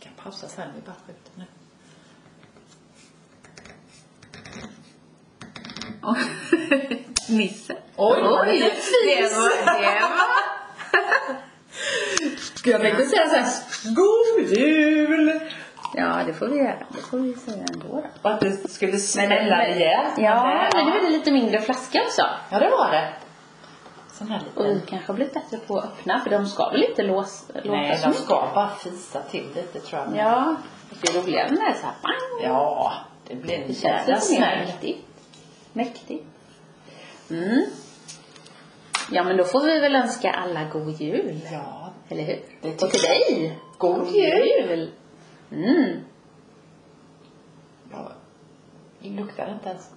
kan pausa sen, vi bara skjuter nu. Nisse. Oj, vad Oj! det är Det var... Det var... Gud, jag tänkte säga såhär, God Jul! Ja, det får vi göra. Det får vi säga ändå då. Och att du skulle smälla men- rejält. Ja, men det ja. blev lite mindre flaska också. ja, det var det. Sån här Och liten. vi kanske har blivit bättre på att öppna, för de ska väl inte lås, låta Mm. Nej, så de mycket? ska bara fisa till lite tror jag. Ja, det är roligare när det är så här, bang! Ja, det blir en Det känns jävla lite smäll. mer mäktigt. Mäktigt. Mm. Ja, men då får vi väl önska alla god jul. Ja, Eller hur? Det tycker Och till dig! God jul. Mm. ja. Det luktar inte ens.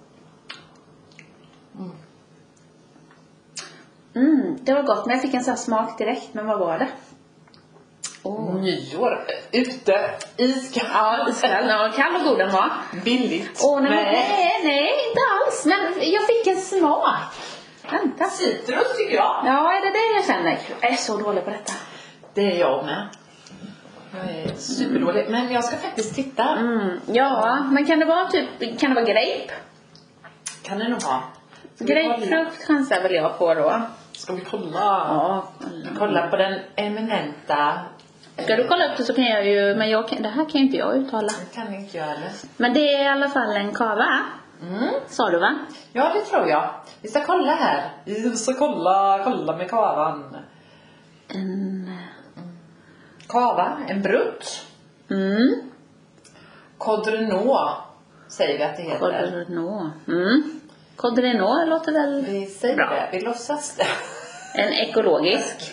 Mm, det var gott, men jag fick en sån här smak direkt. Men vad var det? Åh. Nyår ute, iskall. Ja, iskall. Ja, kall och god den var. Billigt. Åh, nej, men- Nej. nej, nej, inte alls. Men jag fick en smak. Vänta. Citrus tycker jag. Ja, är det det jag känner? Jag är så dålig på detta. Det är jag med. Jag är superdålig. Men jag ska faktiskt titta. Mm, ja, men kan det vara typ, kan det vara grape? Kan det nog vara. Ska vi kolla? Grapefrukt chansar väl jag på då. Ska vi kolla? Ja. Kolla på den eminenta. Ska du kolla upp det så kan jag ju, men jag kan, det här kan ju inte jag uttala. Det kan inte jag heller. Men det är i alla fall en kava, Mm. sa du va? Ja, det tror jag. Vi ska kolla här. Vi ska kolla, kolla med kavan. Mm. En, Kava, en brutt. mm, Codrenot säger vi att det heter. Codrenot. Mm. Codrenot låter väl Vi säger Bra. det, vi låtsas det. en ekologisk.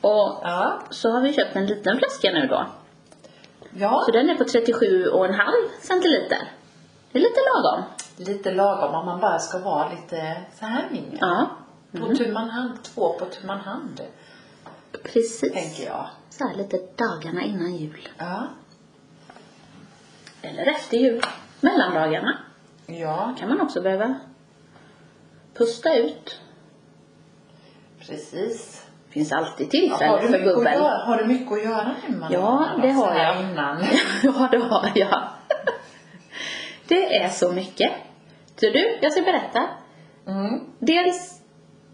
Och Ja. så har vi köpt en liten flaska nu då. ja, Så den är på 37,5 centiliter. Det är lite lagom. lite lagom om man bara ska vara lite så här mindre. Ja, Mm. På tu man hand, två på tu man hand, precis. tänker jag. Så här lite dagarna innan jul. Ja. Eller efter jul. Mellandagarna Ja, kan man också behöva pusta ut. precis. Finns alltid Ja, tillfälle har, du för mycket att bubbel. göra, har du mycket att göra hemma? Ja, nu? det har Så här jag. Innan. ja, det har jag. Det är så mycket. Så du, jag ska berätta. Mm. Dels,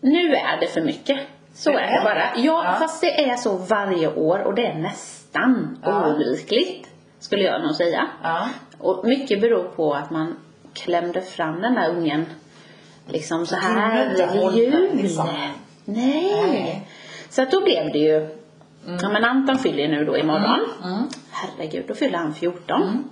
nu är det för mycket. Så Det är är det bara. det. Ja, Ja. fast det är så varje år och det är nästan Ja. oundvikligt. Skulle jag nog säga. Ja. Och mycket beror på att man klämde fram den där ungen liksom så här kunde inte vid hålla jul. den, liksom. Nej. Nej. Så att då blev det ju, ja men Anton fyller ju nu då imorgon. Mm. Herregud, då fyller han 14.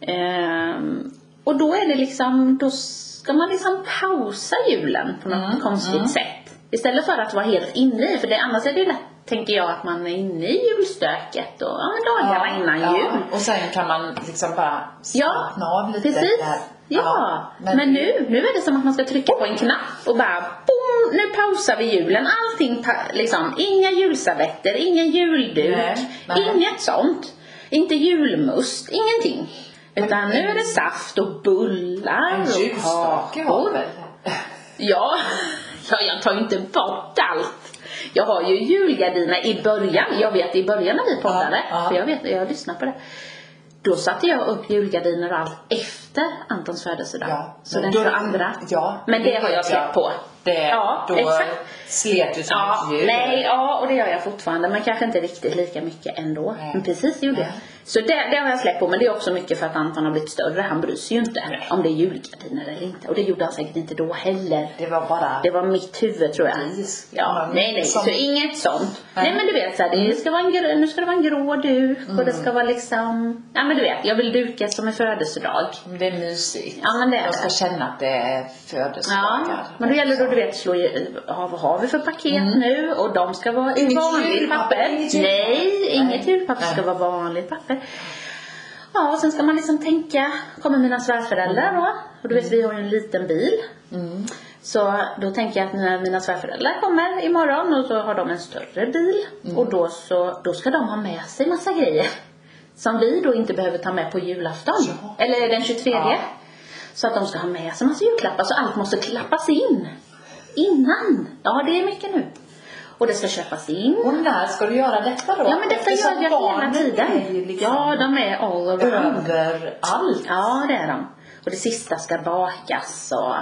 Ehm, och då är det liksom, då ska man liksom pausa julen på något Mm, konstigt sätt. Istället för att vara helt inne i, för det, annars är det ju lätt, tänker jag, att man är inne i julstöket och ja, men dagarna innan ja. jul. Och sen kan man liksom bara Ja, slappna av lite. precis. där. Ja, men, nu, nu är det som att man ska trycka på en knapp och bara boom, nu pausar vi julen. Allting, pa- liksom, inga julservetter, ingen julduk, Nej, nej. inget sånt. Inte julmust, ingenting. Utan nu är det saft och bullar En och ljusstake har väl? Ja, ja, jag tar ju inte bort allt. Jag har ju julgardiner i början. Jag vet i början när vi poddade, Ja, ja. för jag vet, jag har lyssnat på det. Då satte jag upp julgardiner och allt efter Antons födelsedag. Ja, så men den då- 22. ja, men det det har vet jag släppt jag. på. Det, Ja, då exakt. slet du som Ja, ett djur. nej, ja, och det gör jag fortfarande. Men kanske inte riktigt lika mycket ändå. Nej. Men precis gjorde jag. Nej. Så det, det har jag släppt på. Men det är också mycket för att Anton har blivit större. Han bryr sig ju inte Nej. om det är julgardiner eller inte. Och det gjorde han säkert inte då heller. Det var bara... Det var mitt huvud tror jag. Precis. Ja, Ja, nej nej, som- så inget sånt. Nej. Nej, men du vet så här, det ska vara en grå, nu ska det vara en grå duk och det ska vara liksom, ja men du vet, jag vill duka som en födelsedag. Det är mysigt. Ja, men det är Jag ska det. känna att det är Ja, födelsedagar. men då gäller det att du vet slå i, ja, vad har vi för paket nu? Och de ska vara i Mm. Inget vanligt julpapper, papper. inget julpapper. Nej, inget Nej. julpapper ska vara vanligt papper. Ja, och sen ska man liksom tänka, kommer mina svärföräldrar då? Och du Mm. vet, vi har ju en liten bil. Så då tänker jag att när mina svärföräldrar kommer imorgon och så har de en större bil. Mm. Och då, så, då ska de ha med sig massa grejer. Som vi då inte behöver ta med på julafton. Ja. Eller den 23. Ja. Så att de ska ha med sig massa julklappar. Så allt måste klappas in. Innan. Ja, det är mycket nu. Och det ska köpas in. Och när ska du göra detta då? Ja men detta Eftersom gör jag hela barnen är ju tiden. Liksom Ja, de är all around. Överallt. Ja, det är de. Och det sista ska bakas och...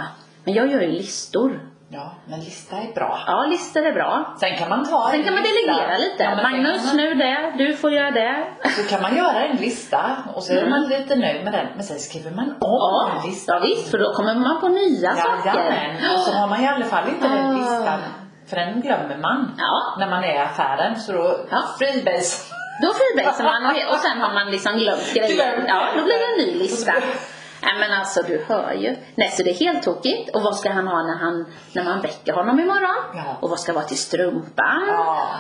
Men jag gör ju listor. Ja, men lista är bra. Ja, listor är bra. Sen kan man ta Sen en kan man lista. delegera lite. Ja, men sen Magnus, kan man, nu det. Du får göra det. Så kan man göra en lista och så är Mm. man lite nöjd med den. Men sen skriver man om Ja, en lista. ja visst, för då kommer man på nya saker. Jajamän. Och så har man i alla fall inte Ah. den listan. För den glömmer man. Ja, När man är i affären så då Ja. freebase. då freebasar man och, och sen har man liksom glömt grejer. Glömt. Ja, då blir det en ny lista. Nej men alltså du hör ju. Nej så det är helt tokigt. Och vad ska han ha när, han, när man väcker honom imorgon? Ja. Och vad ska vara till strumpan? Ja.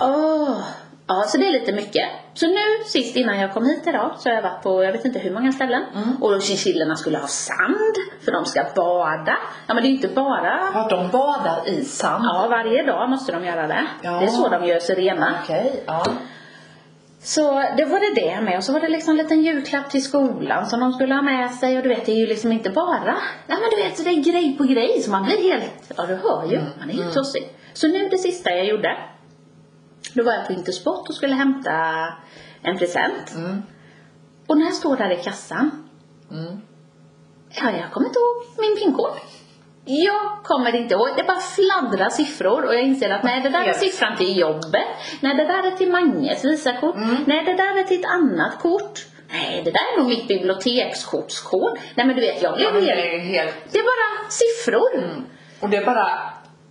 Åh, Ja, så det är lite mycket. Så nu sist innan jag kom hit idag så har jag varit på jag vet inte hur många ställen. Mm. Och chinchillorna skulle ha sand för de ska bada. Ja men det är ju inte bara ja, de badar i sand. Ja, varje dag måste de göra det. Ja. Det är så de gör sig rena. Okej, ja. Så det var det det med. Och så var det liksom en liten julklapp till skolan som de skulle ha med sig. Och du vet, det är ju liksom inte bara... Ja, men du vet, så det är grej på grej. Så man blir helt... Ja, du hör Mm, ju. Man är helt tossig. Så nu det sista jag gjorde. Då var jag på Intersport och skulle hämta en present. Mm. Och när jag står där i kassan. Mm. Ja, jag kommer inte ihåg min pinkod. Jag kommer inte ihåg. Det bara fladdrar siffror och jag inser att nej, det där är Yes. siffran till jobbet. Nej, det där är till Manges Visakort. Mm. Nej, det där är till ett annat kort. Nej, det där är nog mitt bibliotekskortskod. Nej, men du vet, jag Ja, blev men helt... det är helt... Det är bara siffror. Mm. Och det är bara...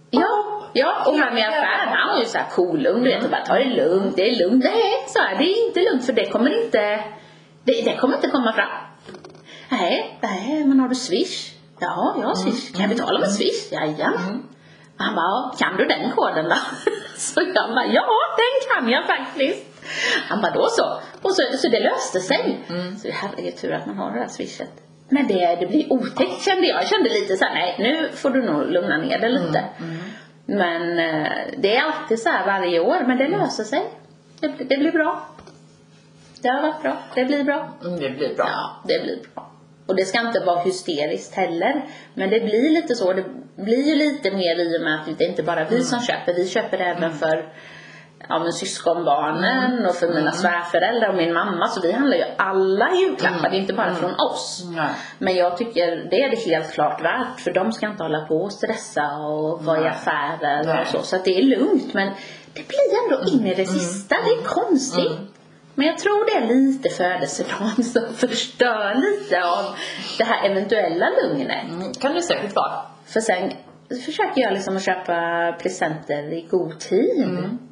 Ja, ja, och han i Jävlar. affären, han var ju såhär kolugn, du vet, och bara ta det lugnt, det är lugnt. Nej, så här, det är inte lugnt för det kommer inte, det, det kommer inte komma fram. Nej, nej, men har du swish? Ja, jag har swish. Kan jag betala Mm. med swish? Jajamän. Han bara, "Ja, kan du den koden då? Så jag bara, ja den kan jag faktiskt. Han bara, då så. Och så, så det löste sig. Så herregud tur att man har det där swishet. Men det, det blir otäckt kände jag. Jag kände lite så här, nej nu får du nog lugna ner dig lite. Men eh, det är alltid så här varje år, men det löser sig. Det, blir- det blir bra. Det har varit bra. Det blir bra. Mm, det blir bra. Ja, det blir bra. Och det ska inte vara hysteriskt heller. Men det blir lite så. Det blir ju lite mer i och med att det är inte bara vi som köper. Vi köper även för ja, men syskonbarnen och för mina svärföräldrar och min mamma. Så vi handlar ju alla julklappar. Det är inte bara från oss. Nej. Men jag tycker det är det helt klart värt för de ska inte hålla på och stressa och vara i affärer Nej. Mm. och så. Så att det är lugnt men det blir ändå in i det sista. Det är konstigt. Men jag tror det är lite födelsedagen som förstör lite av det här eventuella lugnet. Mm, kan det säkert vara. För sen försöker jag liksom att köpa presenter i god tid.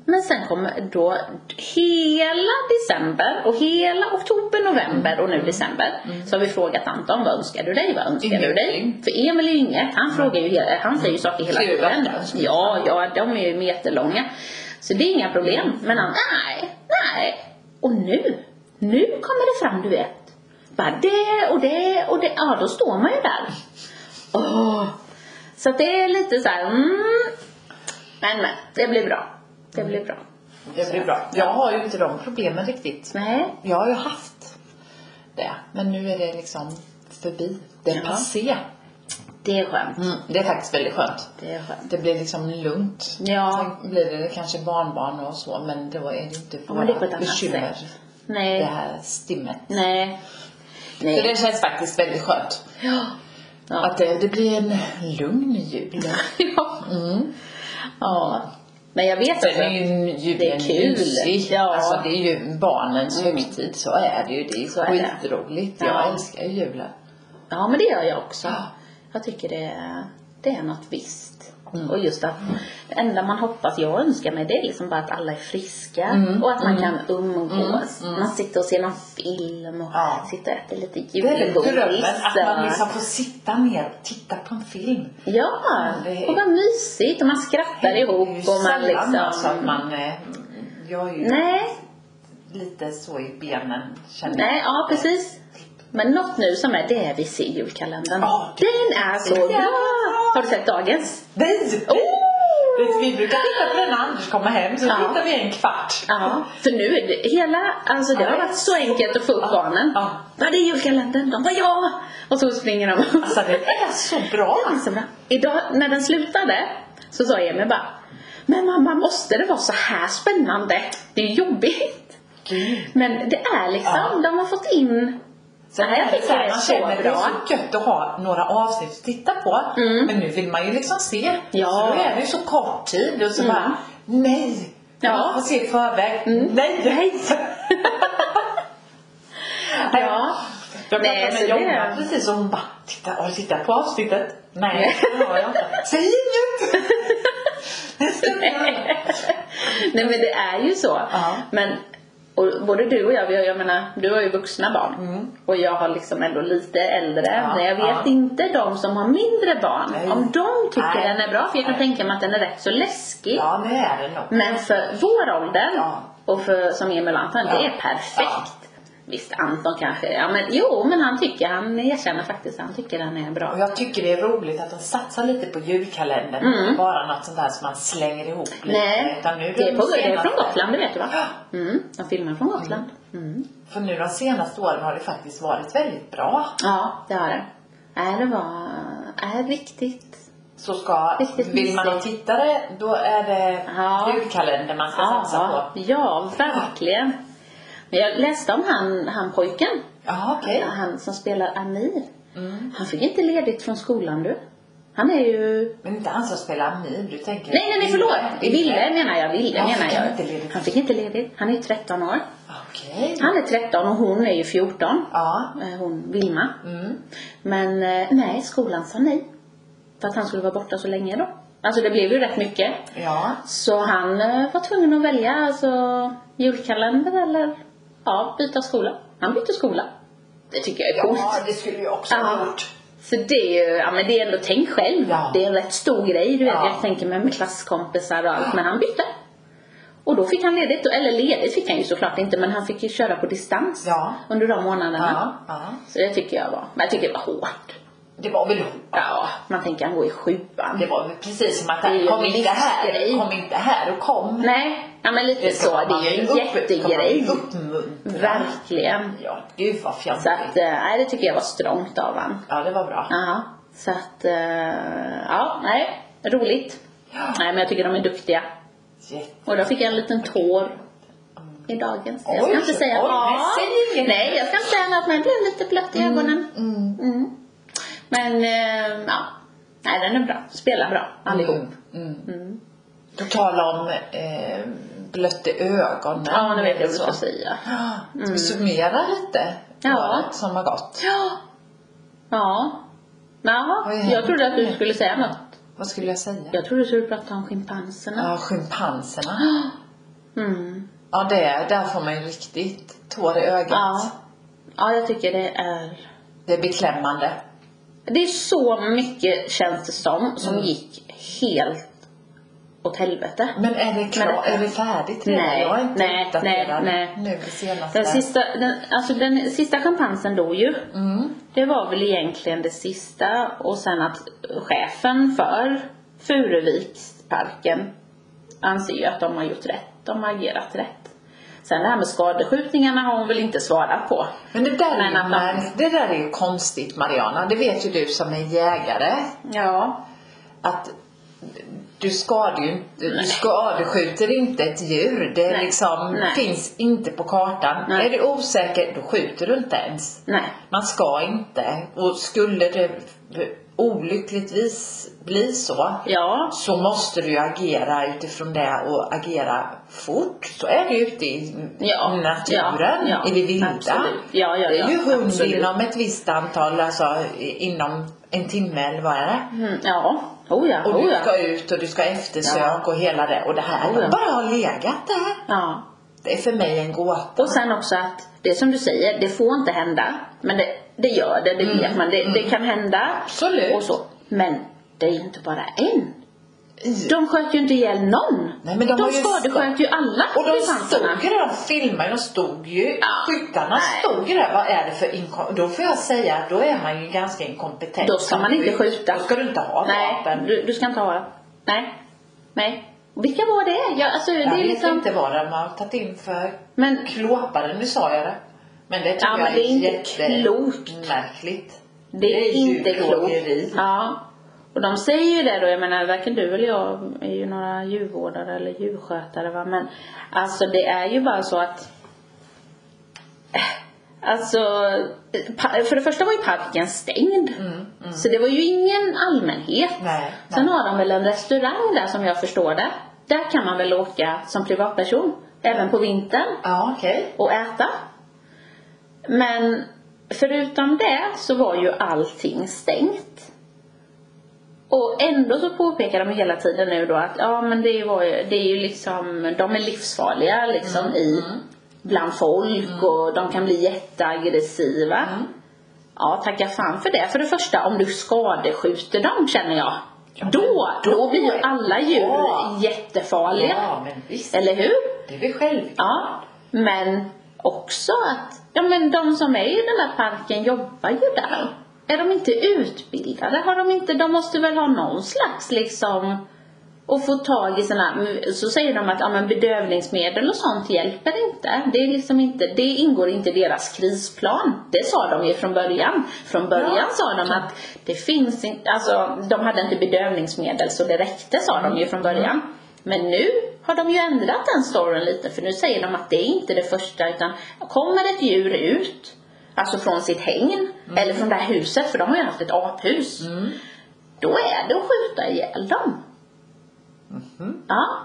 Men sen kommer då hela december och hela oktober, november och nu december. Så har vi frågat Anton, vad önskar du dig? Vad önskar du dig? Ingenting. För Emil är ju inget. Han frågar ju hela, han säger ju saker hela Klurat tiden. där. Ja, ja, de är ju meterlånga. Så det är inga Mm. problem. Men han, nej, nej. Och nu, nu kommer det fram, du vet. Bara det och det och det. Ja, då står man ju där. Åh. Så att det är lite så här, mm. Men men, det blir bra. Det blir bra. Det blir bra. Jag har ju inte de problemen riktigt. Nej. Jag har ju haft det. Men nu är det liksom förbi. Det är Ja. passé. Det är skönt. Mm, det är faktiskt väldigt skönt. Det är skönt. Det blir liksom lugnt. Ja. Sen blir det kanske barnbarn och så men då är det inte Ja, men det är på ett våra annat bekymmer. sätt. Det Nej. här stimmet. Nej. Så Nej. det känns faktiskt väldigt skönt. Ja. Ja. Att det, det blir en lugn jul. Ja. Mm. ja. Men jag vet Sen är inte. ju Det julen är kul. mysig. Ja. Alltså det är ju barnens Mm. högtid. Så är det ju. Det är Så är det. skitroligt. Ja. Jag älskar ju julen. Ja, men det gör jag också. Ja. Jag tycker det, det är något visst. Mm. Och just att det enda man hoppas, jag önskar mig det är liksom bara att alla är friska Mm, och att man mm. kan umgås. Mm, mm. Man sitter och ser någon film och Ja. sitter och äter lite Det är väl julgodis. drömmen att man och- liksom får sitta ner och titta på en film. Ja, det är- och vad mysigt och man skrattar ihop Det är ju och man sällan liksom... alltså att man... eh, Jag är ju Nej, lite så i benen känner jag. nej, ja precis. Men något nu som är det är vi ser i julkalendern. Ja, det- Den är så det är bra! bra. Har du sett dagens? Nej! Oh! Vet, vi brukar titta på den när Anders kommer hem så Ja. tittar vi en kvart. Ja, för nu är det hela, alltså det Ja, har det är varit så enkelt att få upp Ja, barnen. ja. Var det julkalendern? De bara ja! Och så springer de. Alltså det är så bra. Så bra. Idag när den slutade så sa Emil bara Men mamma, måste det vara så här spännande? Det är ju jobbigt. Gud. Men det är liksom, Ja. de har fått in... Sen Nej, jag är det tycker så det här, är man så känner det är bra. så gött att ha några avsnitt att titta på. Mm. Men nu vill man ju liksom se. Ja. Så då är det ju så kort tid och så Mm. bara, nej! Ja. Mm. Jag får se i förväg. Nej! Nej! Ja. Jag Nej, pratade så med det- Jonna precis och hon bara, titta, har du tittat på avsnittet? Nej, det har jag inte. Säg inget! Det ska jag göra. Nej men det är ju så. Ja. Men och både du och jag, vi har, jag menar, du har ju vuxna barn. Mm. Och jag har liksom ändå lite äldre. Ja, men jag vet ja. inte de som har mindre barn. Nej. Om de tycker Nej. den är bra. För jag kan tänka mig att den är rätt så läskig. Ja, det är det nog. Men för vår ålder Ja. och för, som Emil och Anton, det Ja. är perfekt. Visst Anton kanske, ja men jo men han tycker, han erkänner faktiskt, han tycker han är bra. Och jag tycker det är roligt att de satsar lite på julkalendern. Mm. Inte bara något sånt där som man slänger ihop lite. Nej, Utan nu det är, på, det är senaste- från Gotland, det vet du va? Ja, Mm, de filmar från Gotland. Mm. För nu de senaste åren har det faktiskt varit väldigt bra. Ja, det har det. Nej, det var, är riktigt. Så ska, Riktigt vill man ha mysigt. tittare då är det Ja. julkalender man ska satsa Ja, på. ja, verkligen. Men jag läste om han, han pojken, Ja, okej. han som spelar Amir. Mm. Han fick inte ledigt från skolan du. Han är ju Men inte han som spelar Amir, du tänker... Nej, nej, nej, förlåt. Ville menar jag. Ville Ja, menar fick han inte jag. ledigt? Han fick inte ledigt. Han är ju 13 år. Okej. Han är 13 och hon är ju 14. Ja. Eh, Hon, Vilma. Mm. Men eh, nej, skolan sa nej. För att han skulle vara borta så länge då. Alltså det blev ju rätt mycket. Ja. Så han eh, var tvungen att välja alltså julkalender eller ja, byta skola. Han bytte skola. Det tycker jag är coolt. Ja, det skulle jag också Ja. ha gjort. Så det är ju, ja men det är ändå, tänk själv. Ja. Det är en rätt stor grej du vet. Ja. Jag tänker mig med klasskompisar och allt. Men han bytte. Och då fick han ledigt, eller ledigt fick han ju såklart inte men han fick ju köra på distans Ja. under de månaderna. Ja. ja. Så det tycker jag var, men jag tycker det var hårt. Det var väl Ja, man tänker han går i sjuan. Det var väl precis som att Det är ju kom en inte här, livsgrej. kom inte här och kom. Nej, ja men lite ska så. Det man är ju en upp- jättegrej. ska man Uppmuntra. Verkligen. Ja, gud vad Så fjantigt. att, eh, nej det tycker jag var strångt av han. Ja, det var bra. Ja, så att, eh, ja, nej, roligt. Ja. Nej men jag tycker de är duktiga. Jätte- Och då fick jag en liten tår i dagens. jag Oj, ska inte säga oj, vad. men säg inget. Nej, jag ska inte säga något men jag blev lite blött i ögonen. Mm. Mm. Men eh, ja, nej den är bra. Spelar bra allihop. Mm. Mm. Mm. På tal om eh, blött i ögonen. Ja, nu vet jag vad du Så. ska säga. Ah, Ska vi summera lite? Ja. Året som har gått. Ja. Ja. Jaha, jag trodde att du skulle säga något. Vad skulle jag säga? Jag trodde att du skulle prata om schimpanserna. Ja, schimpanserna. Mm. Ja, det är, där får man ju riktigt tår i ögat. Ja. ja, jag tycker det är Det är beklämmande. Det är så mycket känns det som som Mm. gick helt åt helvete. Men är det klart? Men- Är det färdigt redan? Nej, jag har inte nej, uppdaterat nej, nej. nu det senaste. Den sista, den, alltså den sista schimpansen dog ju. Mm. Det var väl egentligen det sista och sen att chefen för Furuviksparken anser ju att de har gjort rätt. De har agerat rätt. Sen det här med skadeskjutningarna har hon väl inte svarat på. Men det där, Men är att ju de- märk- det där är ju konstigt Mariana. Det vet ju du som är jägare. Ja. Att du skadar ju inte, du skadeskjuter inte ett djur. Det är Nej. liksom Nej. finns inte på kartan. Nej. Är du osäker, då skjuter du inte ens. Nej. Man ska inte. Och skulle det olyckligtvis bli så, Ja. så måste du ju agera utifrån det och agera fort. Så är det ju ute i Ja, naturen, ja, ja, i det vilda. absolut. Ja, ja, det är ju ja, hund absolut. inom ett visst antal, alltså i- inom en timme eller vad är det? Mm, ja. Oh ja. Och Oh du ja. ska ut och du ska eftersök Ja. och hela det. Och det här, Oh ja. bara har legat där. ja. Det är för mig en gåta. Och sen också att det som du säger, det får inte hända. Men det, det gör det, det vet man. Det, det kan hända. Mm. Absolut. Och så. Men det är ju inte bara en. I- De sköt ju inte ihjäl någon. Nej, men de har ju skadesköt ju alla Och de schimpanserna. stod ju där, de filmade, de stod ju, Ja. skyttarna Nej. stod ju där. Vad är det för inkom- Då får jag säga att då är man ju ganska inkompetent. Då ska som man inte skytt. skjuta. Då ska du inte ha Nej, vapen. du, du ska inte ha det. Nej. Nej. Vilka var det? Jag, alltså, Jag det är vet liksom... inte vad de har tagit in för Men klåpare, nu sa jag det. Men det tycker Ja, jag men det är inte jätte- klokt. märkligt. det är inte klokt. djurplågeri. Ja. Och de säger ju det då, jag menar varken du eller jag är ju några djurvårdare eller djurskötare va. Men alltså det är ju bara så att Alltså, pa- för det första var ju parken stängd. Så det var ju ingen allmänhet. Mm, Nej, Sen har de väl en restaurang där som jag förstår det. Där kan man väl åka som privatperson. Även på vintern Ja, okej. och äta. Men förutom det så var ju allting stängt. Och ändå så påpekar de hela tiden nu då att ja men det var ju, det är ju liksom, de är livsfarliga liksom Mm. i, bland folk och de kan bli jätteaggressiva. Mm. Ja, tacka fan för det. För det första, om du skadeskjuter dem känner jag. Ja, men då, då, då blir ju är- alla djur Ja. jättefarliga. Ja, men visst. Eller hur? Det är väl självklart. Ja, men också att ja, men de som är i den där parken jobbar ju där. Är de inte utbildade? Har de, inte, de måste väl ha någon slags liksom och få tag i sina, så säger de att ja, men bedövningsmedel och sånt hjälper inte. Det, är liksom inte. det ingår inte i deras krisplan. Det sa de ju från början. Från början Ja. sa de att det finns inte, alltså de hade inte bedövningsmedel så det räckte sa de ju från början. Men nu har de ju ändrat den storyn lite för nu säger de att det är inte det första utan kommer ett djur ut, alltså från sitt hägn eller från det här huset för de har ju haft ett aphus. Då är det att skjuta ihjäl dem. Ja.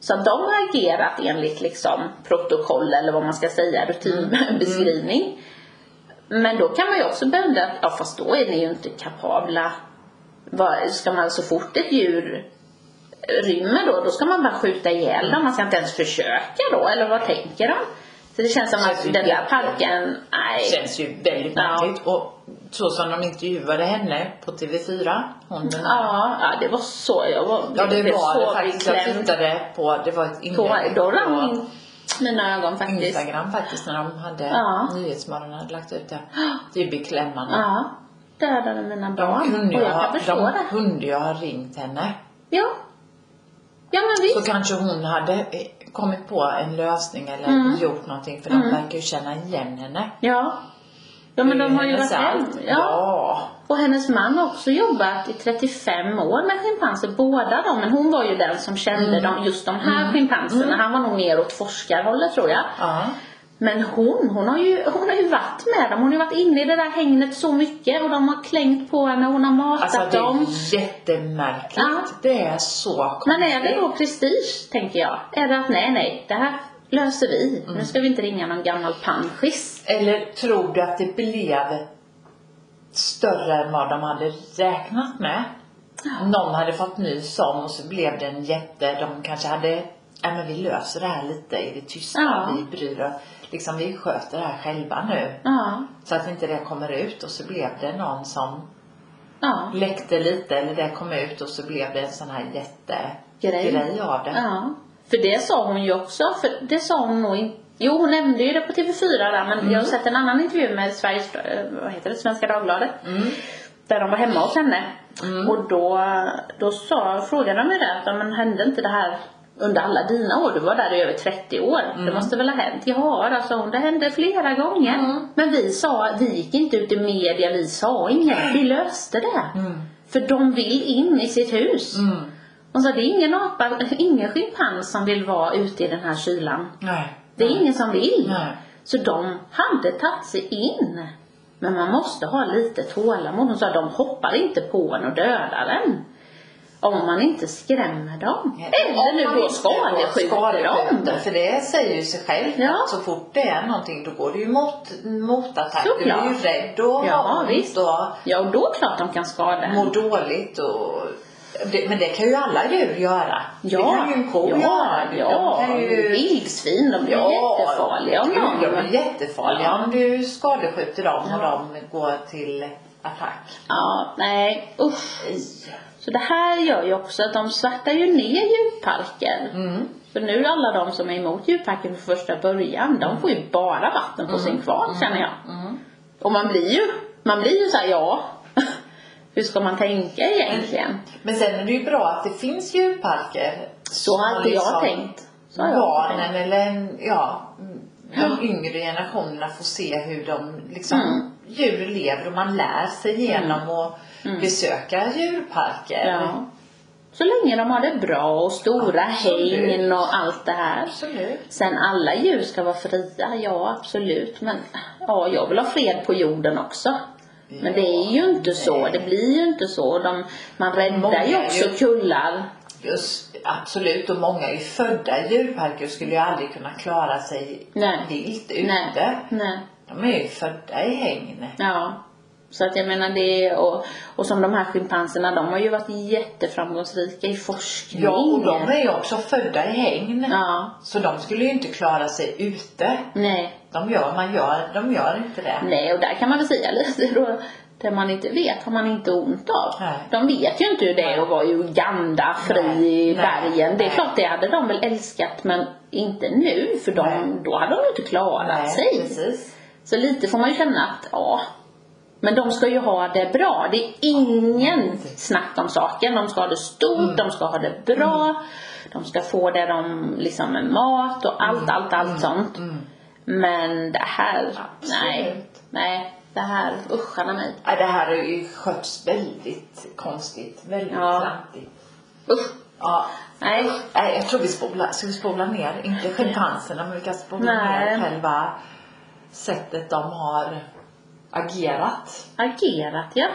Så de har agerat enligt liksom protokoll eller vad man ska säga, rutinbeskrivning. Mm. Men då kan man ju också bända att ja fast då är ni ju inte kapabla. Vad- Ska man så fort ett djur rymmer då, då ska man bara skjuta ihjäl dem. Man ska inte ens försöka då, eller vad tänker de? Så det känns som Känns ju att den där jätte- parken, nej. känns ju väldigt Ja. märkligt. Och så som de intervjuade henne på TV4, hon den här. Ja, ja, det var så jag var. Ja, det blev var Mm. så det faktiskt. Jag beklämd. tittade på, det var ett Då, inlägg då rann på min, mina ögon faktiskt. Instagram faktiskt när de hade Ja. Nyhetsmorgon hade lagt ut det. Det är beklämmande. Ja, dödade mina De barn. kunde, ju och jag kan ha, förstå de det. kunde ju ha ringt henne. Ja. Ja men Så visst. kanske hon hade eh, kommit på en lösning eller Mm. gjort någonting för de verkar ju känna igen henne. Ja. Ja men Det är de har ju hennes varit hem. allt. Ja. ja. Och hennes man har också jobbat i 35 år med schimpanser, båda dem. Men hon var ju den som kände Mm. dem, just de här schimpanserna. Han var nog mer åt forskarhållet tror jag. ja. Men hon, hon har, ju, hon har ju varit med dem. Hon har ju varit inne i det där hängnet så mycket och de har klängt på henne, hon har matat Alltså det dem. är jättemärkligt. Ja. Det är så konstigt. Men är det då prestige, tänker jag? Är det att nej, nej, det här löser vi. Nu ska vi inte ringa någon gammal panschis. Eller tror du att det blev större än vad de hade räknat med? Någon hade fått nys om och så blev det en jätte, de kanske hade, ja men vi löser det här lite i det tysta, Ja. vi bryr oss, liksom vi sköter det här själva nu. Ja, Så att inte det kommer ut och så blev det någon som ja, läckte lite eller det kom ut och så blev det en sån här jättegrej Grej. av det. ja. För det sa hon ju också, för det sa hon nog inte. Jo, hon nämnde ju det på TV4 där, men jag har sett en annan intervju med Sveriges, eh, vad heter det, Svenska Dagbladet. Mm. Där de var hemma hos henne. Och då, då sa, frågade de ju det, att "Ja, men hände inte det här under alla dina år? Du var där i över 30 år. Det Mm. måste väl ha hänt? Ja, då sa hon, det hände flera gånger. Mm. Men vi sa, vi gick inte ut i media, vi sa inget, vi löste det. För de vill in i sitt hus. Mm. Hon sa, det är ingen apa, ingen schimpans som vill vara ute i den här kylan. Nej. Det är ingen som vill. Nej. Så de hade tagit sig in. Men man måste ha lite tålamod. Hon sa de hoppar inte på en och dödar en. Om man inte skrämmer dem. Eller Om man nu då inte skadeskjuter skadeskjuter, dem. För det säger ju sig självt Ja. att så fort det är någonting då går det ju mot, motattack. Du är ju Såklart. rädd och Ja, har ont visst. och Ja, och då är det klart de kan skada mår en. dåligt. Och, det, men det kan ju alla djur göra. det kan ju en ko ja, göra. ja, de kan ju, vildsvin. De blir jättefarliga om gud, någon. De är jättefarliga Ja. om du skadeskjuter dem och Ja. de går till attack. Ja, nej, usch. I. Så det här gör ju också att de svärtar ju ner djurparker. Mm. För nu alla de som är emot djurparken från första början, de får ju bara vatten på Mm. sin kvarn känner jag. Och man blir ju, man blir ju såhär, ja. Hur ska man tänka egentligen? Men sen är det ju bra att det finns djurparker. liksom Så har inte jag tänkt. Så har jag barnen tänkt. eller en, ja, mm, de yngre generationerna får se hur de liksom, Mm. djur lever och man lär sig genom att besöka djurparker. Mm. Ja. Så länge de har det bra och stora Absolut. hägn och allt det här. Absolut. Sen alla djur ska vara fria, ja absolut. Men ja, jag vill ha fred på jorden också. Men det är ju inte så, Nej. det blir ju inte så. De, man Många räddar ju är också ju- kullar. Just, absolut, och många är ju födda i djurparker och skulle ju aldrig kunna klara sig Nej. vilt Nej. ute. Nej. De är ju födda i hägn. Ja. Så att jag menar det och, och som de här schimpanserna, de har ju varit jätteframgångsrika i forskning. Ja, och de är ju också födda i hägn. Ja. Så de skulle ju inte klara sig ute. Nej. De gör, man gör, de gör inte det. Nej, och där kan man väl säga lite då. Det man inte vet har man inte ont av. Nej. De vet ju inte hur det är att vara i Uganda, fri Nej. i Nej. bergen. Det är Nej. klart, det hade de väl älskat men inte nu för de, Nej. då hade de inte klarat sig. precis. Så lite får man ju känna att, ja. Men de ska ju ha det bra. Det är ingen snack om saken. De ska ha det stort, Mm. de ska ha det bra. De ska få det de liksom med mat och allt, allt, allt sånt. Mm. Men det här, Absolut. nej. Nej, det här, uscharna mig. Ja, det här är ju sköts väldigt konstigt, väldigt Ja. klantigt. Usch. Ja. Nej. Nej, jag tror vi spolar, ska vi spola ner, inte schimpanserna, men vi kan spola Nej. ner själva sättet de har agerat. Agerat ja.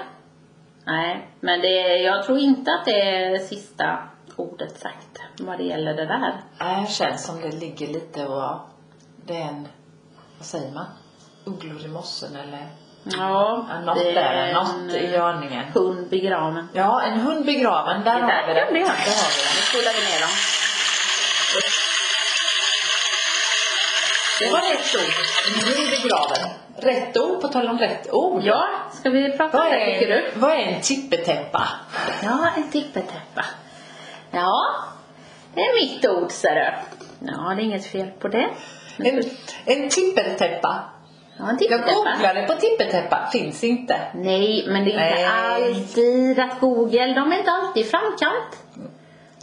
Nej, men det, jag tror inte att det är sista ordet sagt vad det gäller det där. Nej, Det känns som det ligger lite och det är en, vad säger man, ugglor i mossen eller Ja, ja, något det där, är något i en, görningen. Hund begraven. Ja, en hund begraven, där Det där har vi det. kan vi ha. Där har vi det. Nu spolar vi ner dem. Det var rätt ord. Nu är det graven. Rätt ord, på tal om rätt ord. Ja, ska vi prata Vad om det är, tycker du? en, vad är en tippetäppa? Ja, en tippetäppa. Ja, det är mitt ord ser du. Ja, det är inget fel på det. En, en tippetäppa. Ja, en Jag tippetäppa. googlade på tippetäppa, finns inte. Nej, men det är inte Nej. alltid att Google, de är inte alltid i framkant.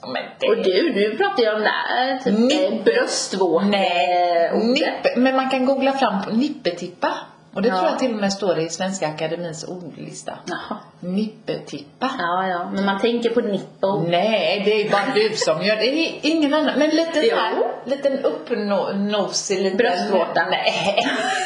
Ja, Men Och det... du, du pratar ju om det här, typ Nippe. eh, bröstvårte- Nej, Eh, ordet. nippe, men man kan googla fram på nippetippa. Och det Ja. tror jag till och med står i Svenska Akademins ordlista. Jaha. Nippetippa. Ja, ja, men man tänker på nippo. Nej, det är bara du som gör det. det. är Ingen annan. Men lite Jo. så här, liten uppnosig liten... Bröstvårta. Nej.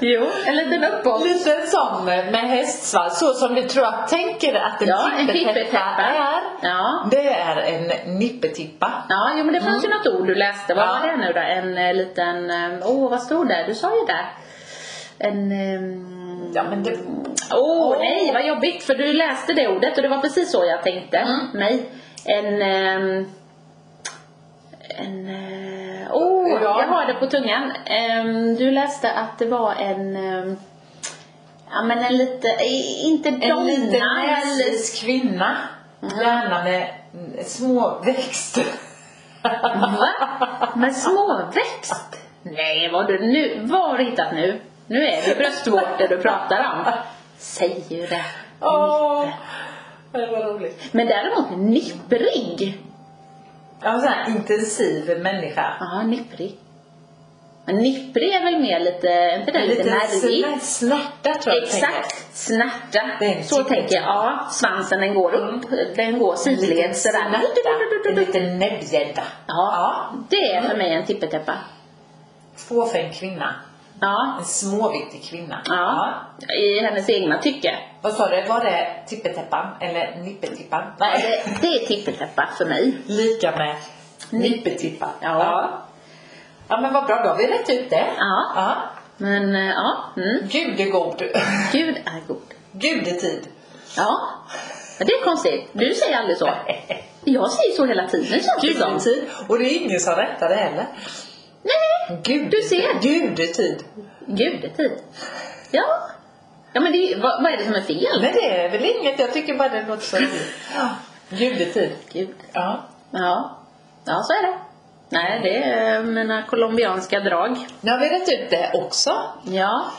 Jo, en liten uppåt. Liten sån med hästsvans, så som du tror jag tänker att en Ja, en tippetäppa tippetäppa. är. Ja. Det är en nippetippa. Ja, jo, men det fanns ju något ord du läste. Vad Mm. Ja. var det nu då? En eh, liten... eh, Åh, vad stod det? Du sa ju det. En... ehm, Ja, men det- Åh, Åh. nej, vad jobbigt. För du läste det ordet och det var precis så jag tänkte. Mm. Nej. En... ehm, En... eh, Åh, Ja. jag har det på tungan. Ehm, Du läste att det var en... ehm, Ja, men en lite... i- Inte donna. En liten eller- näsvis kvinna. Gärna med mm, små växter. Va? Med småväxt? Nej, vad har du nu, vad har du hittat nu? Nu är det bröstvårtor du pratar om. Säger ju det. Åh, det var roligt. Men däremot nipprig. Jag var en sån här intensiv människa. Ja, nipprig. Men nipprig är väl mer lite, är inte det lite, Lite nervig? snär- snärta tror jag Exakt, snärta. Det är en Så tippel. tänker jag. Ja, svansen den går upp. Den går En liten sidled snärta. sådär. En liten näbbgädda. Ja, det är för mig en tippetäppa. Två för en kvinna. Ja, En småviktig kvinna. ja. I hennes egna tycke. Vad sa du, var det tippetäppan eller nippetippan? Ja, det, det är tippeltäppa för mig. Lika med nippetippan. Ja. ja. Ja, men vad bra, då har vi rätt ut det. Ja. ja. Men eh, ja, mm. Gud är god. Gud är god. Gud är tid. Ja. Men det är konstigt. Du säger aldrig så. Jag säger så hela tiden känns det Gud är som. tid. Och det är ingen som rättar det heller. Nej, Gud, Du ser. Gud är tid. Gud är tid. Ja. Ja men det, är ju- vad, vad är det som är fel? Nej, det är väl inget. Jag tycker bara det låter så roligt. Ja. Gud är tid. Gud. Ja. Ja. Ja, så är det. Nej, det är eh, mina colombianska drag. Nu har vi rätt ut det också. Ja.